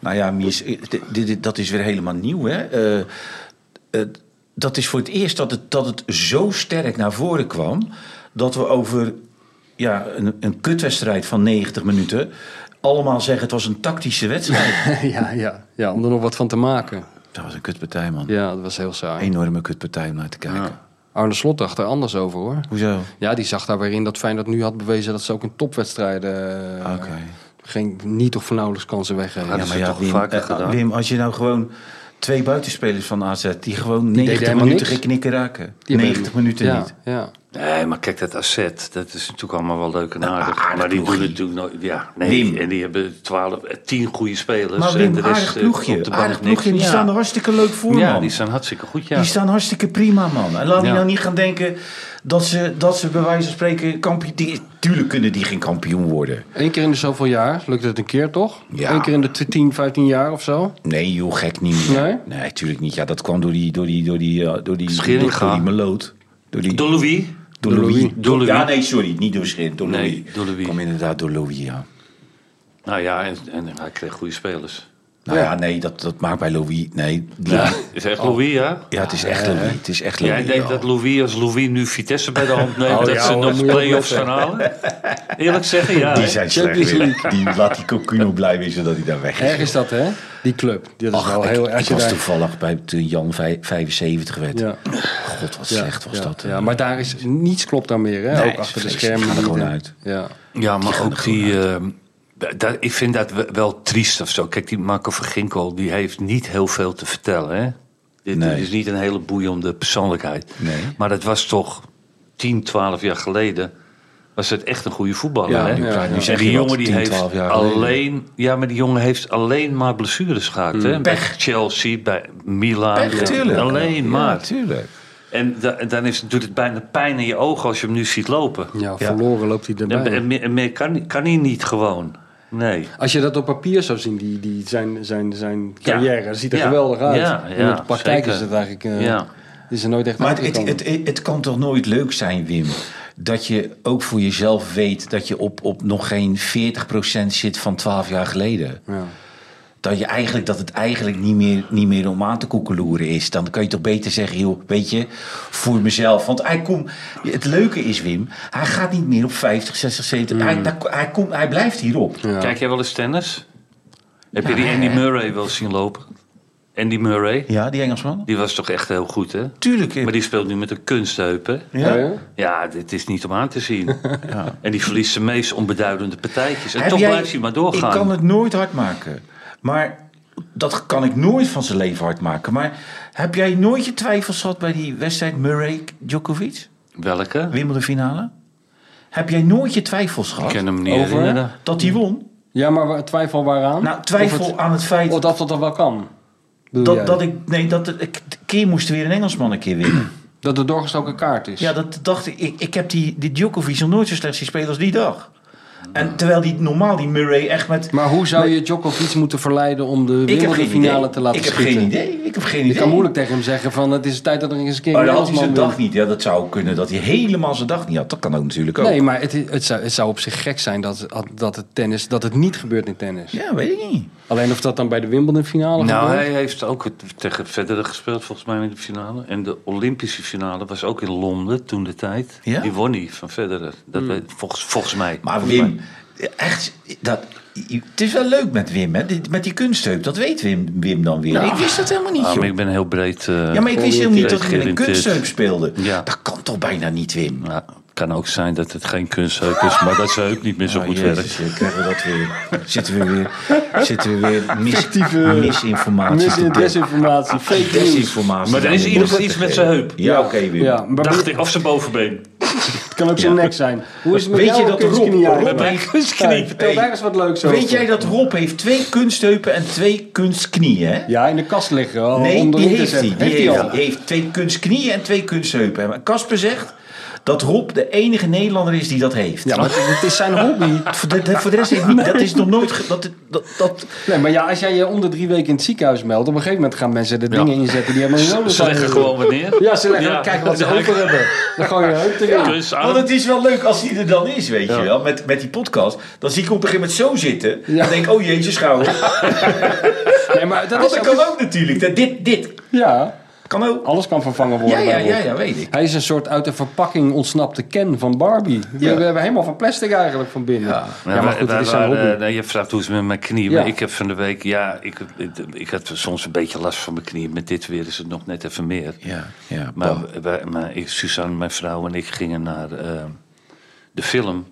Nou ja, Mies, eh, dit, dit- dat is weer helemaal nieuw, hè? Eh, eh, dat is voor het eerst dat het, dat het zo sterk naar voren kwam... dat we over ja, een, een kutwedstrijd van 90 minuten... allemaal zeggen het was een tactische wedstrijd.
ja, ja, ja, om er nog wat van te maken.
dat was een kutpartij, man.
Ja, dat was heel saai.
Enorme kutpartij om naar te kijken.
Arne Slot dacht er anders over hoor.
Hoezo?
Ja, die zag daar weer in dat Feyenoord nu had bewezen dat ze ook in topwedstrijden eh,
Oké.
geen, niet of voor nauwelijks kansen weggeven.
Ja,
Ja,
dat
Ja,
is
maar
het
ja,
toch
Wim,
vaker
eh,
gedaan?
Wim, als je nou gewoon twee buitenspelers van AZ... die gewoon
deden
90
helemaal
minuten
niks.
geknikken raken. 90 minuten
ja,
niet.
Ja.
Nee, maar kijk, dat asset, dat is natuurlijk allemaal wel leuk en
Ah,
aardig.
aardig
maar die doen
ploegje.
natuurlijk nooit... Ja, nee,
Wim.
en die hebben 12, eh, 10 goede spelers.
Maar
en
Wim,
de rest
aardig
eh,
ploegje.
op de bank
aardig ploegje.
niks.
Die
Ja.
staan er hartstikke leuk voor,
Ja,
man.
die staan hartstikke goed, ja.
Die staan hartstikke prima, man. En laat die
Ja.
nou niet gaan denken dat ze, dat ze bij wijze van spreken kampioen... Die, tuurlijk kunnen die geen kampioen worden.
Eén keer in de zoveel jaar lukt het een keer toch?
Ja.
Eén keer in de tw- 10, 15 jaar of zo.
Nee, joh, gek niet meer.
Nee?
Nee, tuurlijk niet. Ja, dat kwam door die... Door die, door die, eh, door die
Scheringa.
Door die meloot. Door die...
Door Louis?
door Louis.
Door Louis.
Ja, nee, sorry. Niet door Scheringa. Door
Nee,
Louis.
door Louis.
Kom inderdaad door Louis, ja.
Nou ja, en, en hij kreeg goede spelers.
Nou ja, nee, dat, dat maakt bij Louis... Nee, die-
Ja, is echt Louis, ja?
Ja, het is echt Louis. Het is echt Louis.
Jij denkt
ja.
dat Louis, als Louis nu Vitesse bij de hand neemt,
Oh,
dat
ja,
ze
hoor,
nog
moet je
play-offs gaan
opletten.
halen? Eerlijk zeggen, ja.
Die
hè?
zijn
Champions
slecht weer. Die laat die Cocuno blij wezen dat hij daar weg is.
Erg is dat hè? Die club. Dat is
Ach,
wel
ik,
heel
ik
als je
was
daar-
toevallig bij toen Jan vij- 75 werd.
Ja.
God, wat
Ja,
slecht was
ja,
dat. eh,
Ja, maar daar is niets klopt daar meer hè?
Nee,
ook achter de
vreselijk.
schermen.
Ga er
niet,
gewoon
hè.
uit.
Ja.
Ja, maar ook die. eh, da- da- ik vind dat we- wel triest of zo. Kijk, die Marco van Ginkel, die heeft niet heel veel te vertellen. Hè? Dit
Nee.
is niet een hele boeiende persoonlijkheid.
Nee.
Maar dat was toch 10, 12 jaar geleden. Was het echt een goede voetballer?
Ja,
hè?
nu praat- nu
En
zeg
die
je wat,
jongen die
10,
heeft
12 jaar geleden.
alleen, ja, maar die jongen heeft alleen maar blessures gehad. Hè? Bij
Mm. Pech.
Chelsea, bij Milan.
Pech,
Ja,
tuurlijk.
Alleen maar.
Natuurlijk.
En da- en dan is, doet het bijna pijn in je ogen als je hem nu ziet lopen.
Ja, verloren loopt hij erbij.
En, en meer, en meer kan, kan hij niet gewoon. Nee.
Als je dat op papier zou zien, die, die zijn, zijn, zijn carrière,
Ja.
ziet er
Ja.
geweldig uit.
Ja,
En
ja,
in de praktijk
zeker.
is het eigenlijk eh,
Ja.
is er nooit echt
Maar het,
uitgekomen.
het, het, het kan toch nooit leuk zijn, Wim, dat je ook voor jezelf weet dat je op, op nog geen 40% zit van 12 jaar geleden.
ja.
Dat, je eigenlijk, dat het eigenlijk niet meer, niet meer om aan te koekeloeren is. Dan kan je toch beter zeggen, joh, weet je, voor mezelf. Want hij komt, het leuke is, Wim, hij gaat niet meer op 50, 60, 70.
Mm.
Hij, daar- hij, komt, hij blijft hierop.
Kijk jij wel eens tennis? Heb je die Andy Murray wel eens zien lopen? Andy Murray,
Ja, die Engelsman?
die was toch echt heel goed, hè?
Tuurlijk. Wim.
Maar die speelt nu met een kunstheup, hè?
Ja. ja?
Ja, dit is niet om aan te zien. En die verliest de meest onbeduidende partijtjes. En
Heb
toch
jij-
blijft hij maar doorgaan.
Ik kan het nooit hard maken. Maar dat kan ik nooit van zijn leven hard maken. Maar heb jij nooit je twijfels gehad bij die wedstrijd Murray Djokovic?
Welke?
Wimbledon finale? Heb jij nooit je twijfels
Ik
gehad
ken hem niet
Over?
herinneren.
dat hij won?
maar wa- twijfel waaraan?
Nou, twijfel
Of het-
aan het feit
of dat dat er wel kan. bedoel jij?
dat, dat ik... Nee, dat er- ik een keer moest weer een Engelsman een keer winnen.
Dat er doorgestoken kaart is.
Ja, dat dacht ik. Ik, ik heb die, die Djokovic nog nooit zo slecht zien spelen als die dag.
En terwijl die normaal, die Murray echt met...
Maar hoe zou je Djokovic moeten verleiden om de
Ik heb geen
wereldfinale
idee.
te laten
ik heb
schieten?
geen idee. Ik heb geen idee.
Je kan moeilijk tegen hem zeggen van het is tijd dat er eens een keer
Maar
een
dat Oh, had hij zijn
Engelsman
dag niet. Ja, dat zou kunnen dat hij helemaal zijn dag niet had. Dat kan ook natuurlijk ook.
Nee, maar het, is- het, zou, het zou op zich gek zijn dat, dat, het tennis, dat het niet gebeurt in tennis.
Ja, weet ik niet.
Alleen of dat dan bij de Wimbledon finale
Nou,
gebeurt.
hij heeft ook het- tegen Federer gespeeld volgens mij in de finale. En de Olympische finale was ook in Londen toen de tijd.
Ja? Hmm.
Die won hij van Federer. Dat weet- volgens, volgens mij.
Maar
Volgens
Wim, echt, dat, het is wel leuk met Wim, hè? Dit- met die kunstheup. Dat weet Wim, Wim dan weer. ik wist dat helemaal niet,
mij. Ah,
joh.
maar ik ben heel breed. eh,
ja, maar ik wist helemaal niet dat hij met een
georiënteerd.
kunstheup speelde.
Ja.
Dat kan toch bijna niet, Wim?
Nou, het kan ook zijn dat het geen kunstheup is, maar dat zijn heup niet meer zo
Oh,
goed
jezus,
werkt.
ja, krijgen we dat weer. Zitten we weer, zitten we weer mis, misinformatie te
Mis-
delen.
desinformatie, fake news.
Desinformatie.
Maar er is in ieder geval iets met zijn heup.
Ja, oké, Wim.
Ja, maar
Dacht ik, of zijn bovenbeen.
het kan ook zijn nek zijn. Hoe is het met
Weet
jou
je dat Rob-
kunstknie
Rob-
eigenlijk?
Mijn kunstknie.
Vertel daar eens wat leuks over.
Weet jij dat Rob heeft twee kunstheupen en twee kunstknieën, hè?
Ja, in de kast liggen. al
Nee,
om
die
erin te
heeft hij. Die
zetten.
heeft,
Heeft hij al?
die heeft twee kunstknieën en twee kunstheupen. En Casper zegt dat Rob de enige Nederlander is die dat heeft.
Ja, maar het is zijn hobby.
Voor, de, de- voor de rest heeft niet, dat is nog nooit... ge- dat, dat, dat,
Nee, maar ja, als jij je om de drie weken in het ziekenhuis meldt, op een gegeven moment gaan mensen de
Ja.
dingen inzetten die helemaal niet nodig
Ze
zijn.
leggen gewoon weer neer.
Ja, ze leggen
Ja.
kijken wat ze
Ja.
over hebben. Dan gooi je een heup erin.
Dus aan-
want het is wel leuk als hij er dan is, weet je wel. Met, met die podcast. Dan zie ik op een gegeven moment zo zitten.
Ja.
Dan denk ik, oh jeetje, schouder.
Nee, maar dat
Want
is
dat
ook...
kan ook natuurlijk. Dat, dit, dit
Ja,
kan ook.
alles kan vervangen
Ja,
worden.
ja,
bij Rob.
ja, ja, weet ik.
Hij is een soort uit de verpakking ontsnapte Ken van Barbie. We,
Ja.
we hebben helemaal van plastic eigenlijk van binnen. Ja, maar goed,
wij
het is zijn
waren,
hobby.
eh, nee, je vraagt hoe is het met mijn knie.
Ja.
Maar ik heb van de week, ja, ik, ik, ik had soms een beetje last van mijn knieën. Met dit weer is het nog net even meer.
Ja, ja.
Maar, wij, maar ik, Suzanne, mijn vrouw en ik gingen naar eh, de film.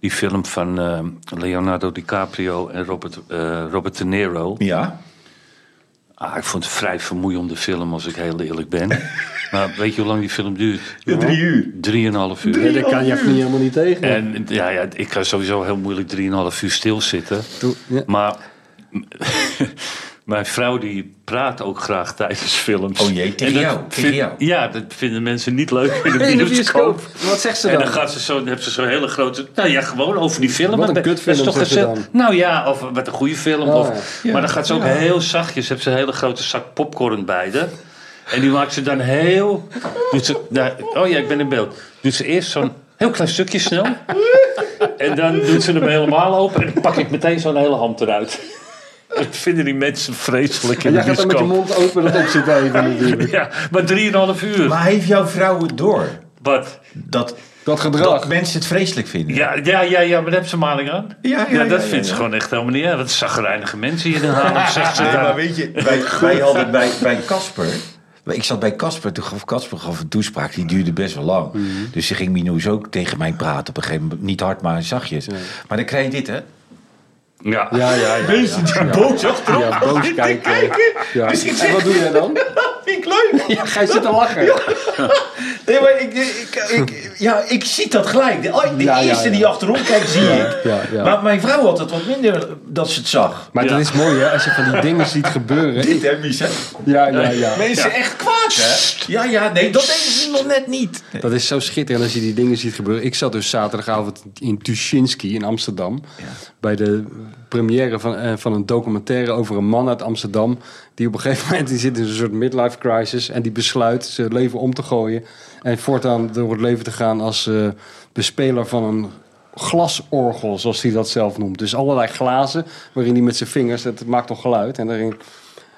Die film van eh, Leonardo DiCaprio en Robert, eh, Robert De Niro.
ja.
Ah, ik vond het een vrij vermoeiende film, als ik heel eerlijk ben. maar weet je hoe lang die film duurt?
Ja, drie uur.
Drieënhalf uur.
Ja, daar kan je niet helemaal niet tegen.
En ja, ja, ik kan sowieso heel moeilijk 3,5 uur stilzitten.
Doe- ja.
Maar mijn vrouw die praat ook graag tijdens films.
Oh jee, tegen
En dat
jou, tegen jou.
Ja, dat vinden mensen niet leuk in de
In de
bioscoop.
bioscoop. Wat zegt ze
En
dan?
dan, gaat ze zo, dan heeft ze zo'n hele grote... Nou ja, gewoon over die film.
Wat een
Dat is
kutfilm,
toch
zegt ze
gezellig. Nou ja, of wat een goede film.
Oh,
of, Maar dan gaat ze ook heel zachtjes. Heeft ze een hele grote zak popcorn bij haar. En die maakt ze dan heel... Doet ze, nou, oh ja, ik ben in beeld. Doet ze eerst zo'n heel klein stukje snel. En dan doet ze hem helemaal open. En dan pak ik meteen zo'n hele hand eruit. Dat vinden die mensen vreselijk
En
in de
jij gaat dan met je
bioscoop.
mond open dat opzit even natuurlijk.
Ja, maar 3,5 uur.
Maar heeft jouw vrouw het door?
Wat?
Dat,
Dat
dat
gedrag.
mensen het vreselijk vinden?
Ja, ja, ja, ja, maar daar heb ze maling aan.
Ja, ja, ja,
dat
ja,
vindt ze
ja.
gewoon echt helemaal niet. Ja, wat zagrijnige mensen hier in Haarlem, zegt ze
Nee, maar
daar.
weet je, wij, wij hadden bij, bij Casper. Ik zat bij Casper, toen gaf Casper gaf een toespraak, die duurde best wel lang.
Mhm.
Dus ze ging Minoes ook tegen mij praten op een gegeven moment. Niet hard, maar zachtjes. Maar dan krijg je dit, hè?
Ja.
Ja, ja, ja.
Mensen die boos achterop
Ja, boos
zitten
kijken. Ja.
Dus ik
En
zeg,
wat doe jij dan?
dat vind ik leuk.
Ja, ga je zitten lachen?
Nee, maar ik, ik, ik, ja, ik zie dat gelijk. De, oh, de
Ja, ja,
eerste
ja.
die achterom kijkt, zie ik.
Ja, ja.
Maar mijn vrouw had het wat minder dat ze het zag.
Maar dat is mooi hè, als je van die dingen ziet gebeuren.
Dit, hè, Mies, hè?
Ja, ja, ja.
Mensen echt kwaad, hè? Ja, ja, nee, dat deden ze nog net niet.
Dat is zo schitterend als je die dingen ziet gebeuren. Ik zat dus zaterdagavond in Tuschinski in Amsterdam. Bij de première van, eh, van een documentaire over een man uit Amsterdam. Die op een gegeven moment die zit in een soort midlife crisis. En die besluit zijn leven om te gooien. En voortaan door het leven te gaan als eh, bespeler van een glasorgel. Zoals hij dat zelf noemt. Dus allerlei glazen waarin hij met zijn vingers... Het maakt toch geluid. En daarin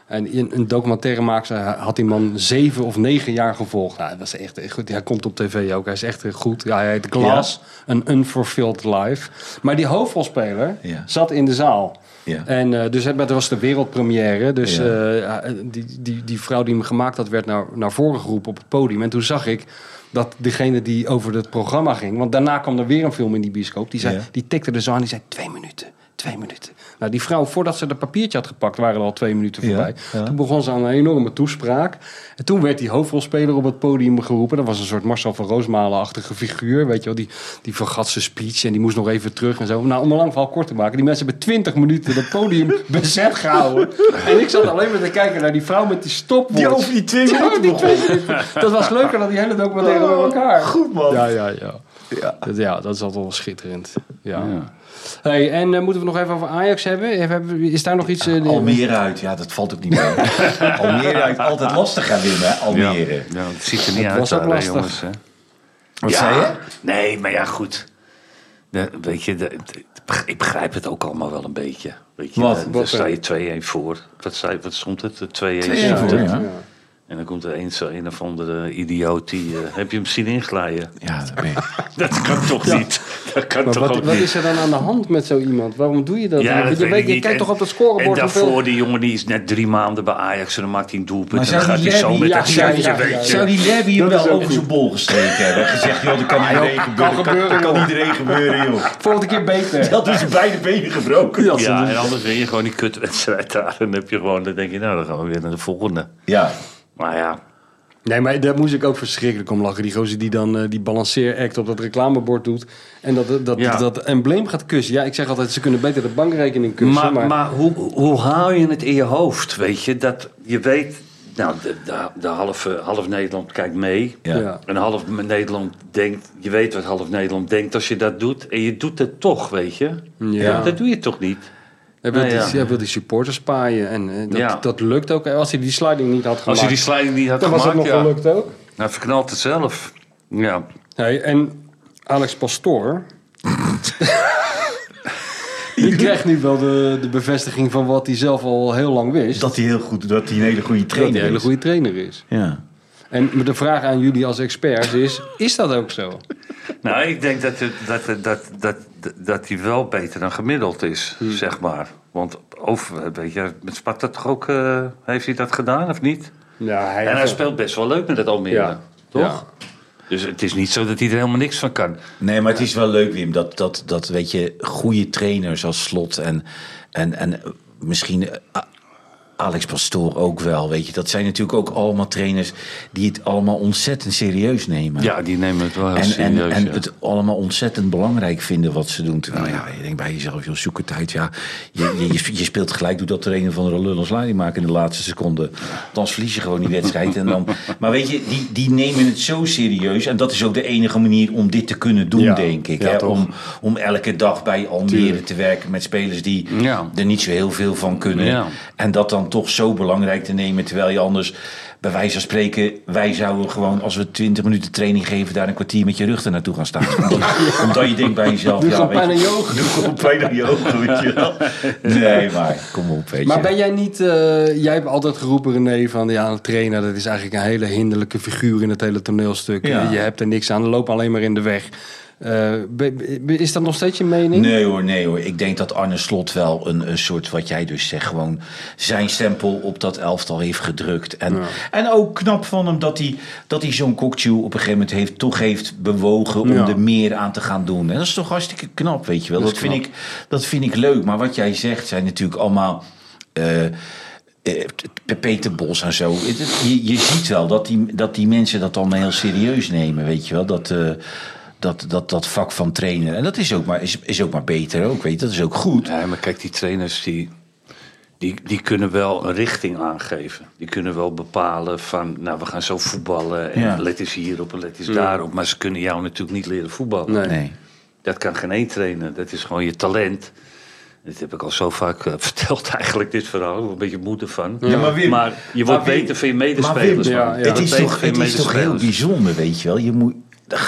en in een documentairemaker had die man zeven of negen jaar gevolgd. Nou, dat was echt echt goed. Hij komt op tv ook. Hij is echt eh, goed. Ja, hij heet Glass, een unfulfilled life. Maar die hoofdrolspeler
Ja.
zat in de zaal.
Ja.
En eh, dus het dat was de wereldpremière. Dus
Ja.
eh, eh, die, die, die vrouw die hem gemaakt had, werd naar, naar voren geroepen op het podium. En toen zag ik dat degene die over het programma ging... Want daarna kwam er weer een film in die bioscoop. Die, zei,
Ja.
die tikte er zo aan. Die zei, twee minuten, twee minuten. Nou, die vrouw, voordat ze dat papiertje had gepakt... waren er al twee minuten
Ja,
voorbij.
ja.
Toen begon ze aan een enorme toespraak. En toen werd die hoofdrolspeler op het podium geroepen. Dat was een soort Marcel van Roosmalen-achtige figuur. Weet je wel, die, die vergat zijn speech en die moest nog even terug en zo. Nou, om een lang verhaal kort te maken. Die mensen hebben twintig minuten dat podium bezet gehouden. En ik zat alleen maar te kijken naar die vrouw met die stopwatch.
Die over die twee
Ja,
minuten Oh,
die twee minuten. Dat was leuker dan die hele documentaire bij elkaar.
Goed, man.
Ja, ja, ja. Dat, ja, dat is altijd wel schitterend. Ja.
Ja.
Hey, en eh, moeten we nog even over Ajax hebben? Even- hebben we- Is daar nog iets... eh, de-
Almere uit, ja, dat valt ook niet mee. Almere uit, altijd lastig gaan winnen, hè,
Ja,
Almere.
ja, het ziet er niet uit
was ook
daar, hè,
lastig.
jongens. Hè?
Wat
Ja,
zei je?
Nee, maar ja, goed. De- weet je, de- de- ik begrijp het ook allemaal wel een beetje. Weet je,
Wat?
Daar, daar
Wat,
sta
eh?
je 2-1 voor. Wat, zei, wat stond het? Eh, 2-1
2-1
stond
voor,
het.
ja.
En dan komt er een, zo een of andere idioot die... eh, heb je hem zien inglijden?
Ja, dat ben ik.
Dat kan toch niet? Dat kan
Maar
toch
wat,
ook
wat
niet?
is er dan aan de hand met zo iemand? Waarom doe je dat?
Ja,
dan?
dat
je
weet
weet-
ik
je
niet.
kijkt
En-
toch op dat scorebord
En
hoeveel-
daarvoor, die jongen die is net drie maanden bij Ajax en dan maakt hij een doelpunt.
Maar
En dan
zou
gaat
die
hij zo
Lerby-
met
ja,
het
ja,
vingertje,
ja, ja,
weet je.
Zou die Levy hem
Dat is
wel
ook
over zijn bol gestreken hebben? en Gezegd, joh, dat kan iedereen gebeuren. Dat kan,
gebeuren,
dat kan
joh.
iedereen gebeuren, joh.
Volgende keer beter.
Dat is beide benen gebroken.
Ja, en anders win je gewoon die kutwedstrijd daar. En dan heb je gewoon, dan denk je, nou, dan gaan we weer naar de volgende.
Ja.
Maar ja,
Nee, maar daar moest ik ook verschrikkelijk om lachen. Die gozer die dan eh, die balanceeract op dat reclamebord doet. En dat, dat,
Ja.
dat, embleem gaat kussen. Ja, ik zeg altijd, ze kunnen beter de bankrekening kussen. Maar,
maar, maar hoe, hoe haal je het in je hoofd, weet je? Dat je weet, nou, de, de, de halve, half Nederland kijkt mee.
Ja.
Ja.
En half Nederland denkt, je weet wat half Nederland denkt als je dat doet. En je doet het toch, weet je?
Ja.
Dat doe je toch niet?
hij, wil
nou ja.
die, hij wil die supporters paaien. En eh, dat,
Ja.
dat lukt ook. Als hij die sliding niet had gemaakt,
Als je die sliding niet had
dan was het
gemaakt,
nog
ja.
gelukt ook.
Hij verknalt het zelf. Ja.
Hey, en Alex Pastoor... die krijgt nu wel de, de bevestiging van wat hij zelf al heel lang wist.
Dus Dat hij heel goed, dat hij een hele goede
dat hij
trainer
een hele
is.
goede trainer is.
Ja.
En de vraag aan jullie als experts is... is dat ook zo?
Nou, ik denk dat, het, dat, dat, dat, dat, dat die wel beter dan gemiddeld is, zeg maar. Want over, weet je, met Sparta toch ook, eh, heeft hij dat gedaan of niet?
Ja, hij
En hij speelt best wel leuk met het Almere,
Ja.
toch?
Ja.
Dus het is niet zo dat hij er helemaal niks van kan.
Nee, maar het is wel leuk, Wim, dat, dat, dat weet je, goede trainers als Slot en, en, en eh, misschien eh, A- Alex Pastoor ook wel, weet je. Dat zijn natuurlijk ook allemaal trainers die het allemaal ontzettend serieus nemen.
Ja, die nemen het wel heel
En, en,
serieus.
en
ja.
het allemaal ontzettend belangrijk vinden wat ze doen. Terwijl Nou ja, je denkt bij jezelf, joh, zoek het uit. Ja, je, je- je, sp- je speelt gelijk, doet dat er een of andere lul een sliding maken in de laatste seconde. Dan verlies je gewoon die wedstrijd. En dan, maar weet je, die, die nemen het zo serieus. En dat is ook de enige manier om dit te kunnen doen,
Ja,
denk ik.
ja,
hè?
toch.
Om, om elke dag bij Almere te werken met spelers die
Ja.
er niet zo heel veel van kunnen.
Ja.
En dat dan toch zo belangrijk te nemen. Terwijl je anders, bij wijze van spreken, wij zouden gewoon, als we 20 minuten training geven, daar een kwartier met je rug er naartoe gaan staan. Omdat je denkt bij jezelf.
Doe gewoon
weet
pijn
je,
aan je ogen.
Doe gewoon pijn aan je ogen, weet je wel. Nee, maar kom op, weet je.
Maar ben jij niet... eh, jij hebt altijd geroepen, René, van... ja, een trainer, dat is eigenlijk een hele hinderlijke figuur... in het hele toneelstuk.
Ja.
Je hebt er niks aan, loop alleen maar in de weg. Eh, be- be- is dat nog steeds je mening?
Nee hoor, nee hoor. Ik denk dat Arne Slot wel een, een soort, wat jij dus zegt, gewoon zijn stempel op dat elftal heeft gedrukt. En, en ook knap van hem dat hij, dat hij zo'n cocktail op een gegeven moment heeft, toch heeft bewogen om
Ja.
er meer aan te gaan doen. En dat is toch hartstikke knap, weet je wel. Dat, vind, ik, dat vind ik leuk. Maar wat jij zegt zijn natuurlijk allemaal... eh, eh, P- Peter Bos en zo. Het- het- Je, je ziet wel dat die, dat die mensen dat dan heel serieus nemen, weet je wel. Dat, eh, dat, dat, dat vak van trainen. En dat is ook maar, is, is ook maar beter ook, weet je. Dat is ook goed.
Nee, maar kijk, die trainers die, die, die kunnen wel een richting aangeven. Die kunnen wel bepalen van, nou, we gaan zo voetballen. En
Ja.
let eens hierop en let eens daarop. Maar ze kunnen jou natuurlijk niet leren voetballen.
Nee.
Dat kan geen één trainen. Dat is gewoon je talent. Dit heb ik al zo vaak eh, verteld eigenlijk, dit verhaal. Ik word een beetje moe ervan.
Ja, maar Wim-
je
maar
wordt
Wim-
beter van je
Maar
medespelers.
Wim,
man.
ja,
Je
ja.
wordt
Het is,
beter
toch,
van je
het is toch heel
medespelers.
bijzonder, weet je wel. Je moet,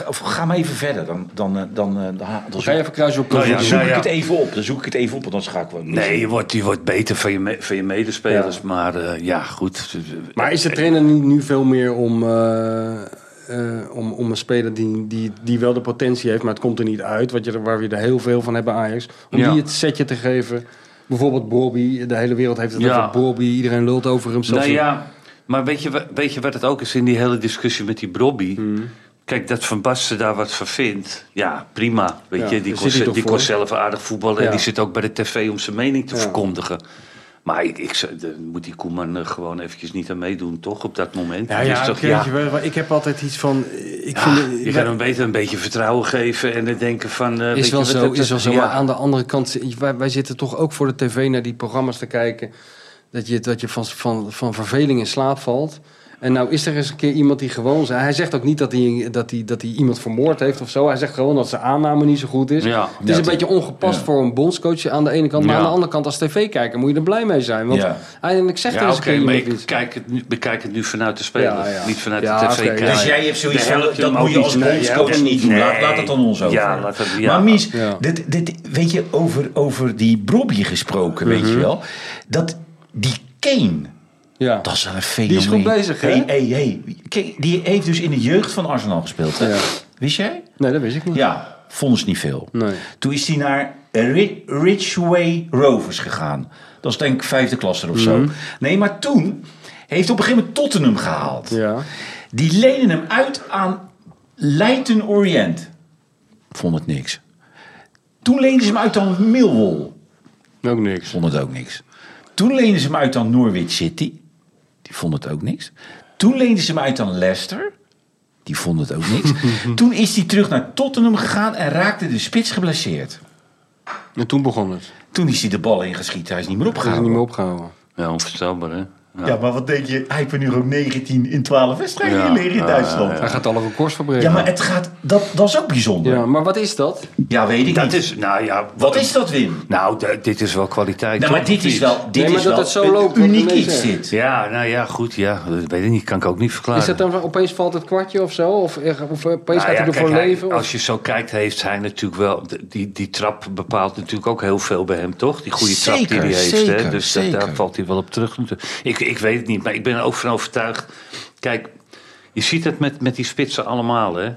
of ga maar even verder. Dan, dan, eh, dan, eh, dan, dan
Ga je
zoek,
even kruisen op
Nou ja,
dan
ja.
zoek ik het even op. Dan zoek ik het even op en dan ga ik wel.
Nee, je wordt, je wordt beter van je, me- van je medespelers. Maar eh, ja, goed.
Maar is de trainer niet nu veel meer om, eh, eh, om, om een speler die, die, die wel de potentie heeft, maar het komt er niet uit, wat je, er- waar we er heel veel van hebben Ajax, om
Ja.
die het setje te geven? Bijvoorbeeld Bobby, de hele wereld heeft het
Ja.
over Bobby, iedereen lult over hem. zelfs-
Nou ja, maar weet je, wa- weet je wat het ook is in die hele discussie met die Brobby?
Hmm.
Kijk, dat Van Basten daar wat van vindt, ja, prima. Weet
Ja,
je, die,
daar zit
kon,
hij
ze-
toch
die
voor?
kon zelf aardig voetballen
Ja.
en die zit ook bij de tv om zijn mening te
Ja.
verkondigen. Maar ik, ik, zou- daar moet die Koeman eh, gewoon eventjes niet aan meedoen, toch, op dat moment?
Ja,
Dus
ja,
toch,
oké, weet je wel, maar ik heb altijd iets van. eh, Ik
ja,
vind,
je kan hem beter een beetje vertrouwen geven en dan denken van... eh, weet
is
je
wel
wat,
zo,
dat-
is wel zo.
ja.
Maar aan de andere kant, wij, wij zitten toch ook voor de tv naar die programma's te kijken. Dat je, dat je van, van, van verveling in slaap valt. En nou is er eens een keer iemand die gewoon... Hij zegt ook niet dat hij, dat hij, dat hij iemand vermoord heeft of zo. Hij zegt gewoon dat zijn aanname niet zo goed is.
Ja.
het is
Ja,
een beetje ongepast voor een bondscoach aan de ene kant. Maar
Ja.
aan de andere kant als tv-kijker moet je er blij mee zijn. Want
Ja.
eindelijk zegt er
Ja,
eens
oké,
een keer
maar
iemand
ik
iets.
kijk het nu, bekijk het nu vanuit de speler,
Ja, ja.
niet vanuit
Ja,
de
oké,
tv. kijken.
ja, ja.
Dus jij hebt zoiets
Dan help
van,
je
dat
hem
moet je
ook
als
niet. Nee,
bondscoach
help je
niet doen.
Nee.
Laat, laat het dan ons over.
Ja, laat het, ja.
Maar Mies,
Ja.
dit, dit, weet je, over, over die Brobby gesproken, weet
Mhm.
je wel. Dat, die Kane...
Ja.
Dat is wel een fenomeen.
is goed bezig, hè?
Hey, hey, hey. Kijk, die heeft dus in de jeugd van Arsenal gespeeld. Hè?
Ja.
Wist jij?
Nee, dat wist ik niet.
Ja, vond ze niet veel.
Nee.
Toen is hij naar Ri- Ridgeway Rovers gegaan. Dat is denk ik vijfde klasse of
Mhm.
zo. Nee, maar toen heeft op een gegeven moment Tottenham gehaald.
Ja.
Die lenen hem uit aan Leiden Orient. Vond het niks. Toen leenden ze hem uit aan Millwall.
Ook niks.
Vond het ook niks. Toen leenden ze hem uit aan Norwich City. Die vond het ook niks. Toen leenden ze hem uit aan Leicester. Die vond het ook niks. Toen is hij terug naar Tottenham gegaan en raakte de spits geblesseerd.
En toen begon het.
Toen is hij de bal ingeschiet. Hij is niet meer
Toen is
opgegaan.
het niet meer opgehouden.
Ja, onvoorstelbaar, hè?
Ja. maar wat denk je? Hij heeft er nu ook 19 in 12 wedstrijden
Ja,
hier liggen in
ja,
Duitsland. Ja,
Hij gaat alle records verbreken.
maar het gaat, dat, dat is ook bijzonder.
Ja,
Ja,
maar wat is dat?
weet ik
Dat
niet.
is, nou ja,
Wat is dat, Wim?
Nou, d- dit is wel kwaliteit.
Nou,
toch?
maar dit is wel, dit
Nee, maar
is
dat
wel
het zo loopt,
een
wat
uniek
mensen
iets.
zeggen.
Dit.
Ja, nou ja, goed, ja. Dat weet ik niet, kan ik ook niet verklaren.
Is dat dan opeens valt het kwartje of zo? Of, eh, of opeens
Nou
gaat hij
ja,
ervoor
kijk, hij-
leven? Of-
Als je zo kijkt, heeft hij natuurlijk wel... d- Die, die trap bepaalt natuurlijk ook heel veel bij hem, toch? Die goede trap die
Zeker,
hij heeft.
zeker,
hè? Dus dat-
zeker.
daar valt hij wel op terug. natuurlijk. Ik, ik weet het niet, maar ik ben er ook van overtuigd. Kijk, je ziet het met, met die spitsen allemaal, hè?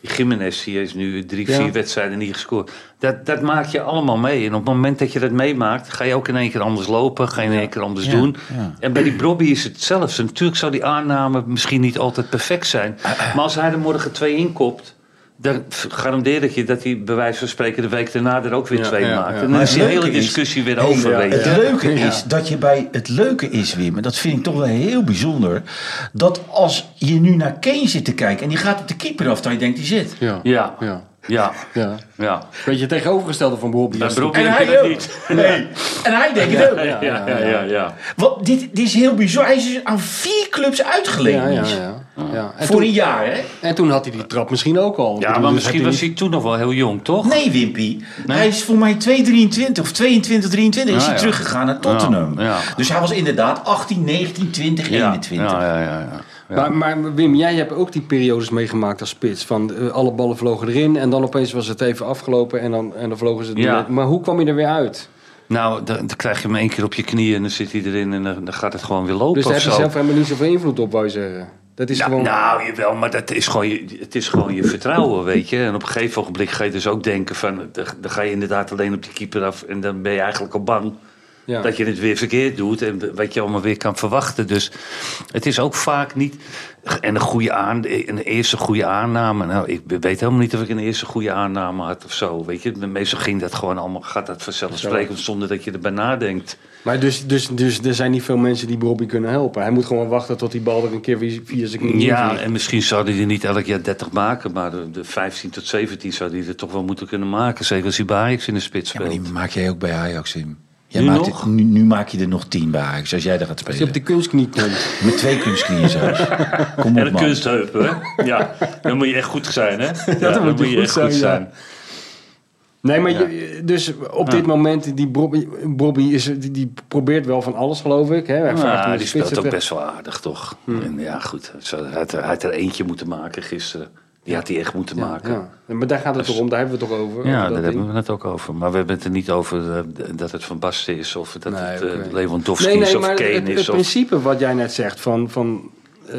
Die Jiménez, die heeft nu drie,
Ja.
vier wedstrijden niet gescoord. Dat, dat maak je allemaal mee. En op het moment dat je dat meemaakt, ga je ook in één keer anders lopen. Ga je in één keer anders doen. En bij die Brobby is het hetzelfde. Natuurlijk zou die aanname misschien niet altijd perfect zijn. Maar als hij er morgen twee inkopt... dan f- garandeer ik je dat hij bij wijze van spreken de week daarna er ook weer
Ja,
twee
ja,
maakt.
ja.
En
Maar
dan is
het
die
leuke
hele
is-
discussie weer
Hey,
over. weet je.
Het leuke
Ja.
is dat je bij het leuke is Wim, en dat vind ik toch wel heel bijzonder, dat als je nu naar Kane zit te kijken en die gaat op de keeper af, dan je denkt die zit.
ja.
Ja,
Ja.
ja, ja.
ja. Beetje tegenovergestelde van Bobby.
Bij Brobby
En
heb je
hij
dat
ook.
niet.
Nee. En hij denkt het ook.
Ja, ja, ja, ja.
Want dit, dit is heel bizar. Hij is dus aan vier clubs uitgeleend.
Ja, ja,
Mies.
ja. ja. En,
Voor
toen,
een jaar, hè?
en toen had hij die trap misschien ook al. Ik
Ja,
bedoel,
maar
dus
misschien
had
was hij toen nog wel heel jong, toch?
Nee, Wimpy. Hij is voor mij 2,23 of 22, 23 is
Ah, Ja,
hij
ja.
teruggegaan naar Tottenham.
Ja, ja.
Dus hij was inderdaad 18, 19, 20,
Ja,
21.
Ja, ja, ja, ja.
Maar, maar Wim, jij hebt ook die periodes meegemaakt als spits. Van eh, alle ballen vlogen erin en dan opeens was het even afgelopen en dan, en dan vlogen ze
Ja.
erin. Maar hoe kwam je er weer uit?
Nou, dan, dan krijg je hem één keer op je knieën en dan zit hij erin en dan, dan gaat het gewoon weer lopen
Dus daar
of
heb je
zo.
zelf helemaal niet zoveel invloed op, wou je zeggen. Dat is
Ja,
gewoon...
Nou, jawel, maar dat is gewoon je, het is gewoon je vertrouwen, weet je. En op een gegeven ogenblik ga je dus ook denken van... dan dan ga je inderdaad alleen op die keeper af en dan ben je eigenlijk al bang...
ja.
Dat je het weer verkeerd doet en wat je allemaal weer kan verwachten. Dus het is ook vaak niet. En een, goede aan, een eerste goede aanname. Nou, ik weet helemaal niet of ik een eerste goede aanname had of zo. Weet je, meestal ging dat gewoon allemaal. Gaat dat vanzelfsprekend zonder dat je erbij nadenkt.
Maar dus, dus, dus er zijn niet veel mensen die Bobby kunnen helpen. Hij moet gewoon wachten tot die bal er een keer weer via zijn knie
Ja,
invliegt.
en misschien zou hij er niet elk jaar 30 maken. Maar de, de 15 tot 17 zou hij er toch wel moeten kunnen maken. Zeker als hij bij Ajax in de spits
Ja, maar
speelt.
die maak jij ook bij Ajax in. Jij
Nu
maakt
nog?
het- nu, nu maak je er nog tien bij Ajax, als jij daar gaat
Als je
spelen.
op de kunstknie komt.
Met twee kunstknieën zelfs. Kom
en
op,
een
man.
kunstheup, hè? Ja, dan moet je echt goed zijn, hè? Ja, dan
moet je goed zijn, ja. Nee, maar
Ja.
je- dus op dit moment, die Bobby, Bobby is, die, die probeert wel van alles, geloof ik. Hè? Hij vraagt
Ja,
om de
die
spitsen
speelt ook
te-
best wel aardig, toch? En ja, goed. Zo, hij, had er, hij had er eentje moeten maken gisteren. Die had hij echt moeten maken. Ja,
Ja, ja. Maar daar gaat het toch om, daar hebben we het toch over? over dat
Dus- daar
ding.
hebben we het ook over. Maar we hebben het er niet over eh, dat het Van Basten is... of dat
Nee,
het eh,
oké.
Lewandowski is of
maar
Kane
het, het
is. Of,
principe wat jij net zegt, van, van eh,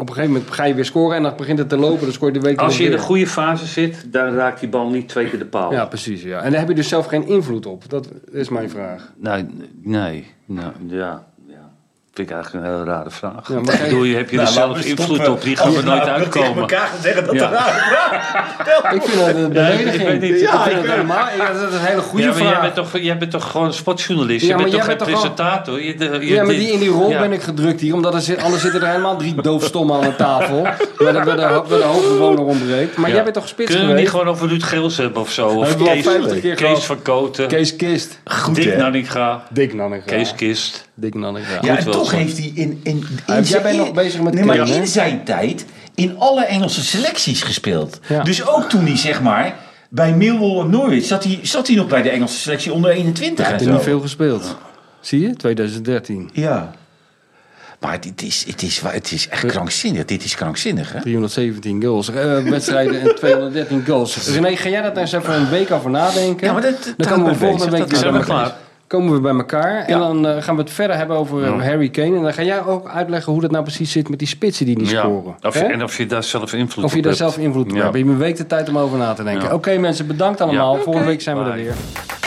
op een gegeven moment ga je weer scoren en dan begint het te lopen, dan scoor je de week
als
nog
je in de
weer.
goede fase zit, dan raakt die bal niet twee keer de paal.
Ja, precies. Ja. En daar heb je dus zelf geen invloed op. Dat is mijn vraag.
Nee, nee, nou, ja, ja. Vind ik eigenlijk een hele rare vraag.
Ja, maar
ik
kijk-
bedoel, je heb je er
Nou,
zelf
laten we
invloed
stoppen.
op. Die gaan
Als
we
we
nooit
nou tegen
uitkomen.
elkaar gaan zeggen dat
Ja.
er
Ik vind dat een
Ja, ik- ik
belediging.
weet niet.
Ja,
Ja,
ik vind het helemaal- ja, dat is een hele goede
Ja, maar
vraag.
jij bent, toch, jij bent toch gewoon sportjournalist?
Ja,
je bent
maar
toch
jij
geen
bent toch wel-
presentator? Je- de- je-
Ja, maar die in die rol
Ja.
ben ik gedrukt hier, omdat er zit, anders zitten er helemaal drie doofstommen aan de tafel. Waar de, waar de, waar de hoofdbewoner ontbreekt. Maar
Ja.
jij bent toch spits
Kunnen we
geweest?
niet gewoon over Ruud Geels hebben of zo? Of
hebben we al
Kees,
50 keer gehad.
Kees van Koten,
Kees Kist.
Goed,
Dick
hè?
Nanninga,
Dik Nanninga.
Kees Kist.
Dik Nanninga.
Ja,
Moet
en
wel
toch toch heeft hij in, in, in
jij
zijn-
bent nog bezig met
nee, maar
Kane, hè?
in zijn tijd in alle Engelse selecties gespeeld.
Ja.
Dus ook toen hij zeg maar bij Millwall en Norwich zat hij, zat hij nog bij de Engelse selectie onder 21 en
Heeft
zo.
er niet veel gespeeld. Zie je? 2013.
Ja. Maar het is, het, is, wa- het is echt krankzinnig. Dit is krankzinnig, hè?
317 goals. Eh, wedstrijden en 213 goals. René, ga jij daar nou eens even een week over nadenken?
Ja, maar dat- dat
dan
houdt
komen
me
we volgende
bezig.
week
Dat
weer
is
bij
helemaal
elkaar. Komen we bij elkaar en dan eh, gaan we het verder hebben over eh, Harry Kane. En dan ga jij ook uitleggen hoe dat nou precies zit met die spitsen die niet scoren.
Of je-
Hè?
en of je daar zelf invloed
Of je
op
daar
hebt.
zelf invloed op
Ja.
hebt. Je hebt een week de tijd om over na te denken.
Ja.
Oké mensen, bedankt allemaal.
Ja.
Volgende week zijn we er
Bye.
weer.